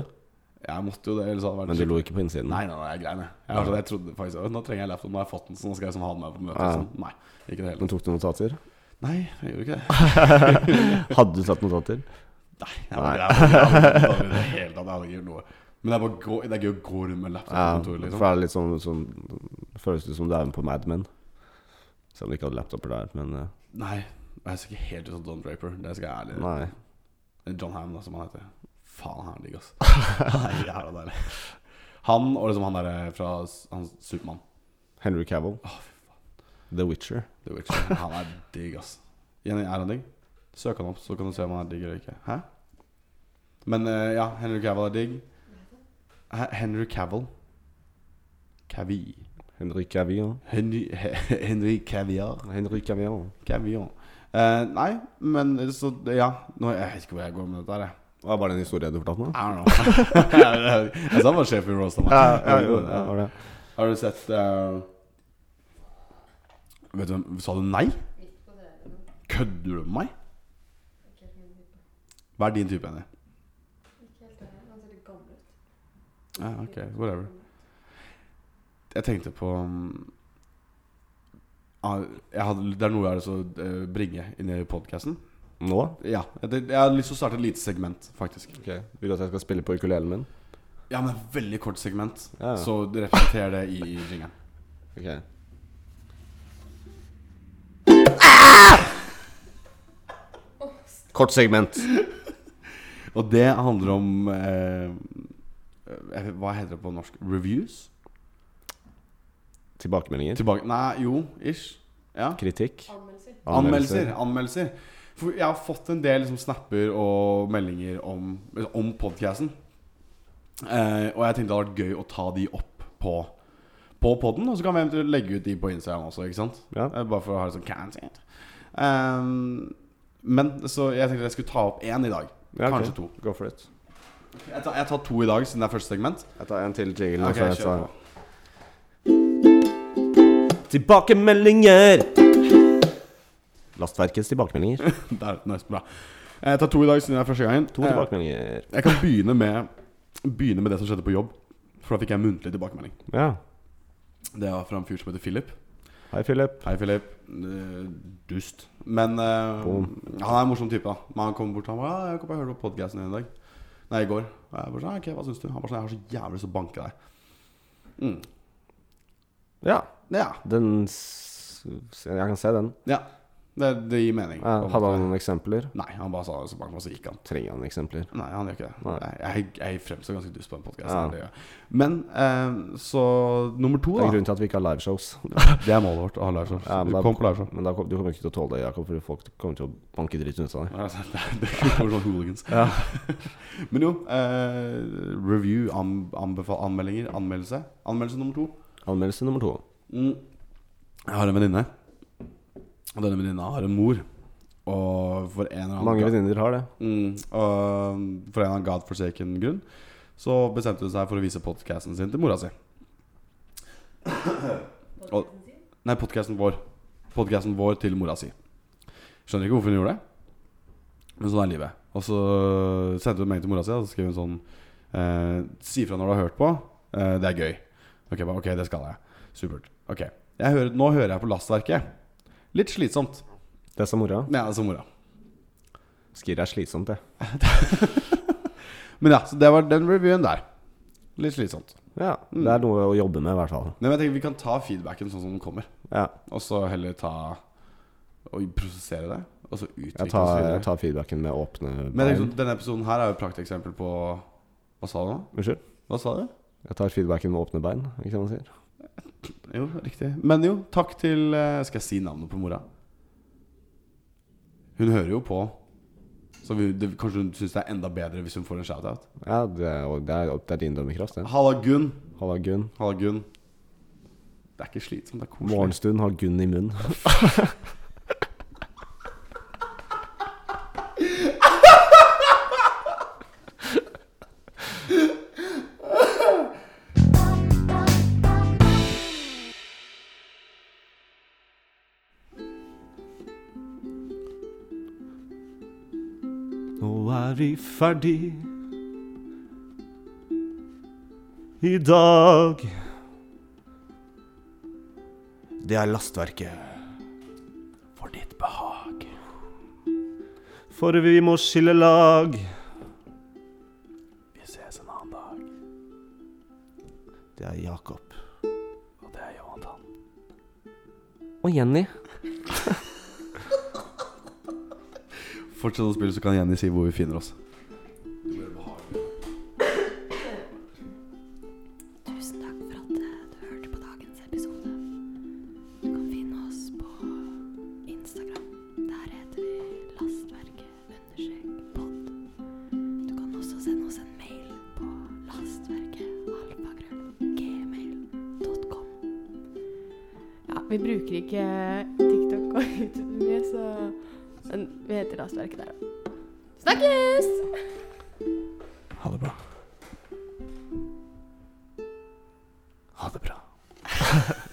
Speaker 2: Jeg måtte jo det, ellers hadde det vært
Speaker 1: Men du lo ikke på innsiden?
Speaker 2: Nei, nei, nei, jeg grein, jeg. Jeg, var sånn, jeg trodde faktisk «Å, Nå trenger jeg laptop, nå har jeg fått den, så nå skal jeg liksom ha den med på møtet.
Speaker 1: Ja.
Speaker 2: Sånn. Nei, ikke det hele
Speaker 1: Men tok du notater?
Speaker 2: Nei, jeg gjorde ikke det.
Speaker 1: Hadde du tatt notater?
Speaker 2: Nei, jeg var jeg var- jeg var- jeg var- i det hele tatt, jeg hadde ikke gjort noe. Men det er, bare gå, det er gøy å gå rundt med en laptop på
Speaker 1: Ja, for
Speaker 2: kontoret,
Speaker 1: det
Speaker 2: liksom.
Speaker 1: er litt sånn, sånn Føles det som du er med på Mad Men. Selv om du ikke hadde laptoper der, men eh,
Speaker 2: Nei, jeg ser ikke helt ut som Don Draper, det skal jeg ærlig
Speaker 1: nei.
Speaker 2: John Ham, da, som han heter. faen, han er digg, ass. Han er Jævla deilig. Han og liksom han derre fra s- han Supermann.
Speaker 1: Henry Cavill. The Witcher.
Speaker 2: The Witcher. Han er digg, ass. Jenny, er han digg? Søk han opp, så kan du se om han er digg eller ikke. Hæ? Men eh, ja, Henry Cavill er digg. Hæ? Henry Cavill. Cavi.
Speaker 1: Henry Cavill.
Speaker 2: Henry, Henry Caviar.
Speaker 1: Henry Cavill.
Speaker 2: Caviar. Eh, nei, men så ja Nå, Jeg vet ikke hvor jeg går med dette her, jeg.
Speaker 1: Hva var den historien du fortalte nå?
Speaker 2: I don't know. jeg sa han var sjef i Rosa.
Speaker 1: Ja, ja, jo, ja, var det.
Speaker 2: Har du sett eh, Vet du hvem Sa du nei? Kødder du med meg? Hva er din type, Henny? Ja, ok, whatever. Jeg tenkte på um, ah, jeg hadde, Det er noe jeg har lyst til å eh, bringe inn i podkasten.
Speaker 1: Nå?
Speaker 2: Ja, jeg, jeg har lyst til å starte et lite segment, faktisk.
Speaker 1: Ok, Vil du at jeg skal spille på ukulelen min?
Speaker 2: Ja, men et veldig kort segment,
Speaker 1: Ja.
Speaker 2: så representerer det i, i jingeren.
Speaker 1: Ok Kort segment.
Speaker 2: Og det handler om eh, eh, Hva heter det på norsk? Reviews?
Speaker 1: Tilbakemeldinger.
Speaker 2: Tilbake Nei, jo, ish. Ja.
Speaker 1: Kritikk.
Speaker 2: Anmeldelser. Anmeldelser. For jeg har fått en del liksom, snapper og meldinger om, om podkasten. Eh, og jeg tenkte det hadde vært gøy å ta de opp på, på podden. Og så kan vi eventuelt legge ut de på Instagram også, ikke sant?
Speaker 1: Ja.
Speaker 2: Eh, Bare for å ha det sånn content. Ehm, men så jeg tenkte jeg skulle ta opp én i dag.
Speaker 1: Ja, ok.
Speaker 2: Kanskje to.
Speaker 1: Go for it.
Speaker 2: Jeg tar, jeg tar to i dag, siden det er første segment.
Speaker 1: Jeg tar en til jingle. og
Speaker 2: Ok,
Speaker 1: så jeg
Speaker 2: kjør
Speaker 1: tar-
Speaker 2: på.
Speaker 1: Tilbakemeldinger! Lastverkets tilbakemeldinger.
Speaker 2: Der, nice, bra. Eh, Jeg tar to i dag siden det er første gangen. Eh,
Speaker 1: To tilbakemeldinger.
Speaker 2: Jeg kan begynne med, begynne med det som skjedde på jobb. For da fikk jeg muntlig tilbakemelding.
Speaker 1: Ja.
Speaker 2: Det var fra en fyr som heter Philip.
Speaker 1: Hei, Philip.
Speaker 2: Hei, Philip. Eh, Dust. Men eh,
Speaker 1: Boom.
Speaker 2: han er en morsom type. da Men han kom bort og han bare, ja, 'Jeg kom bare og hørte på podkasten din i dag.' Nei, i går. Og jeg bare sånn, «Ja, ok, hva syns du? Han bare sånn 'Jeg har så jævlig lyst til å banke deg'. Mm.
Speaker 1: Ja,
Speaker 2: Ja.
Speaker 1: den s- s- Jeg kan se den.
Speaker 2: ja. Det, det gir mening.
Speaker 1: Ja, hadde han noen eksempler?
Speaker 2: Nei, han bare sa 'så bank meg', så gikk han.
Speaker 1: Trenger han eksempler?
Speaker 2: Nei, han gjør ikke det.
Speaker 1: Nei.
Speaker 2: Nei, Jeg, jeg fremstår ganske dust på den
Speaker 1: Ja.
Speaker 2: podkasten. Men eh, så nummer to,
Speaker 1: Det er
Speaker 2: da.
Speaker 1: grunnen til at vi ikke har liveshows.
Speaker 2: Det er målet vårt å ha liveshow.
Speaker 1: Ja, men
Speaker 2: Du
Speaker 1: da-
Speaker 2: kom på liveshow.
Speaker 1: Men da kom, du kommer ikke til å tåle det, Jakob, for folk kommer til å banke dritt ut av deg.
Speaker 2: Ja, sant, Det det kommer sånn hooligans. Men jo, eh, review, an, anbefal, anmeldinger, anmeldelse. Anmeldelse nummer to.
Speaker 1: Anmeldelse nummer to.
Speaker 2: Mm. Jeg har en venninne. Og denne venninna har en mor. Og for en eller annen
Speaker 1: Mange venninner har det.
Speaker 2: Mm, og for en eller annen godforsaken grunn Så bestemte hun seg for å vise podcasten sin til mora si. Og, nei, podcasten vår. Podcasten vår til mora si. Skjønner ikke hvorfor hun gjorde det, men sånn er livet. Og så sendte hun melding til mora si, og så skrev hun sånn eh, Si fra når du har hørt på. Eh, det er gøy. Ok, jeg bare, ok, det skal jeg. Supert. Ok. Jeg hører, nå hører jeg på lastverket. Litt slitsomt.
Speaker 1: Det sa mora.
Speaker 2: Ja, altså mora.
Speaker 1: Skir er slitsomt, det.
Speaker 2: Men ja, så det var den reviewen der. Litt slitsomt.
Speaker 1: Ja, Det er noe å jobbe med, i hvert fall.
Speaker 2: Nei, men jeg tenker Vi kan ta feedbacken sånn som den kommer,
Speaker 1: Ja,
Speaker 2: og så heller ta og prosessere det. Og så utvikle
Speaker 1: Jeg tar,
Speaker 2: oss
Speaker 1: jeg
Speaker 2: videre.
Speaker 1: tar feedbacken med åpne
Speaker 2: Men jeg
Speaker 1: bein.
Speaker 2: tenker, sånn, denne episoden her er jo et prakteksempel på Hva sa du nå?
Speaker 1: Unnskyld?
Speaker 2: Hva sa du?
Speaker 1: Jeg tar feedbacken med åpne bein, ikke sant man sier?
Speaker 2: Jo, riktig. Men jo, takk til eh, Skal jeg si navnet på mora? Hun hører jo på. Så vi, det, kanskje hun syns det er enda bedre hvis hun får en shout-out.
Speaker 1: Ja, det er, og det er, det er din dømmekraft, det.
Speaker 2: Halla, Gunn.
Speaker 1: Halla, Gunn.
Speaker 2: Halla, Gunn. Det er ikke slitsomt, det er koselig.
Speaker 1: Morgenstund har Gunn i munnen. Nå er vi ferdig i dag. Det er lastverket. For ditt behag. For vi må skille lag.
Speaker 4: Vi ses en annen dag.
Speaker 1: Det er Jakob.
Speaker 4: Og det er Jonathan.
Speaker 1: Og Jenny.
Speaker 2: Fortsett å spille, så kan Jenny si hvor vi finner oss. Det blir behagelig.
Speaker 3: eh, Vi bruker ikke TikTok og YouTube mye, så Men vi heter Lastverket der, da. Snakkes!
Speaker 4: Ha det bra. Ha det bra.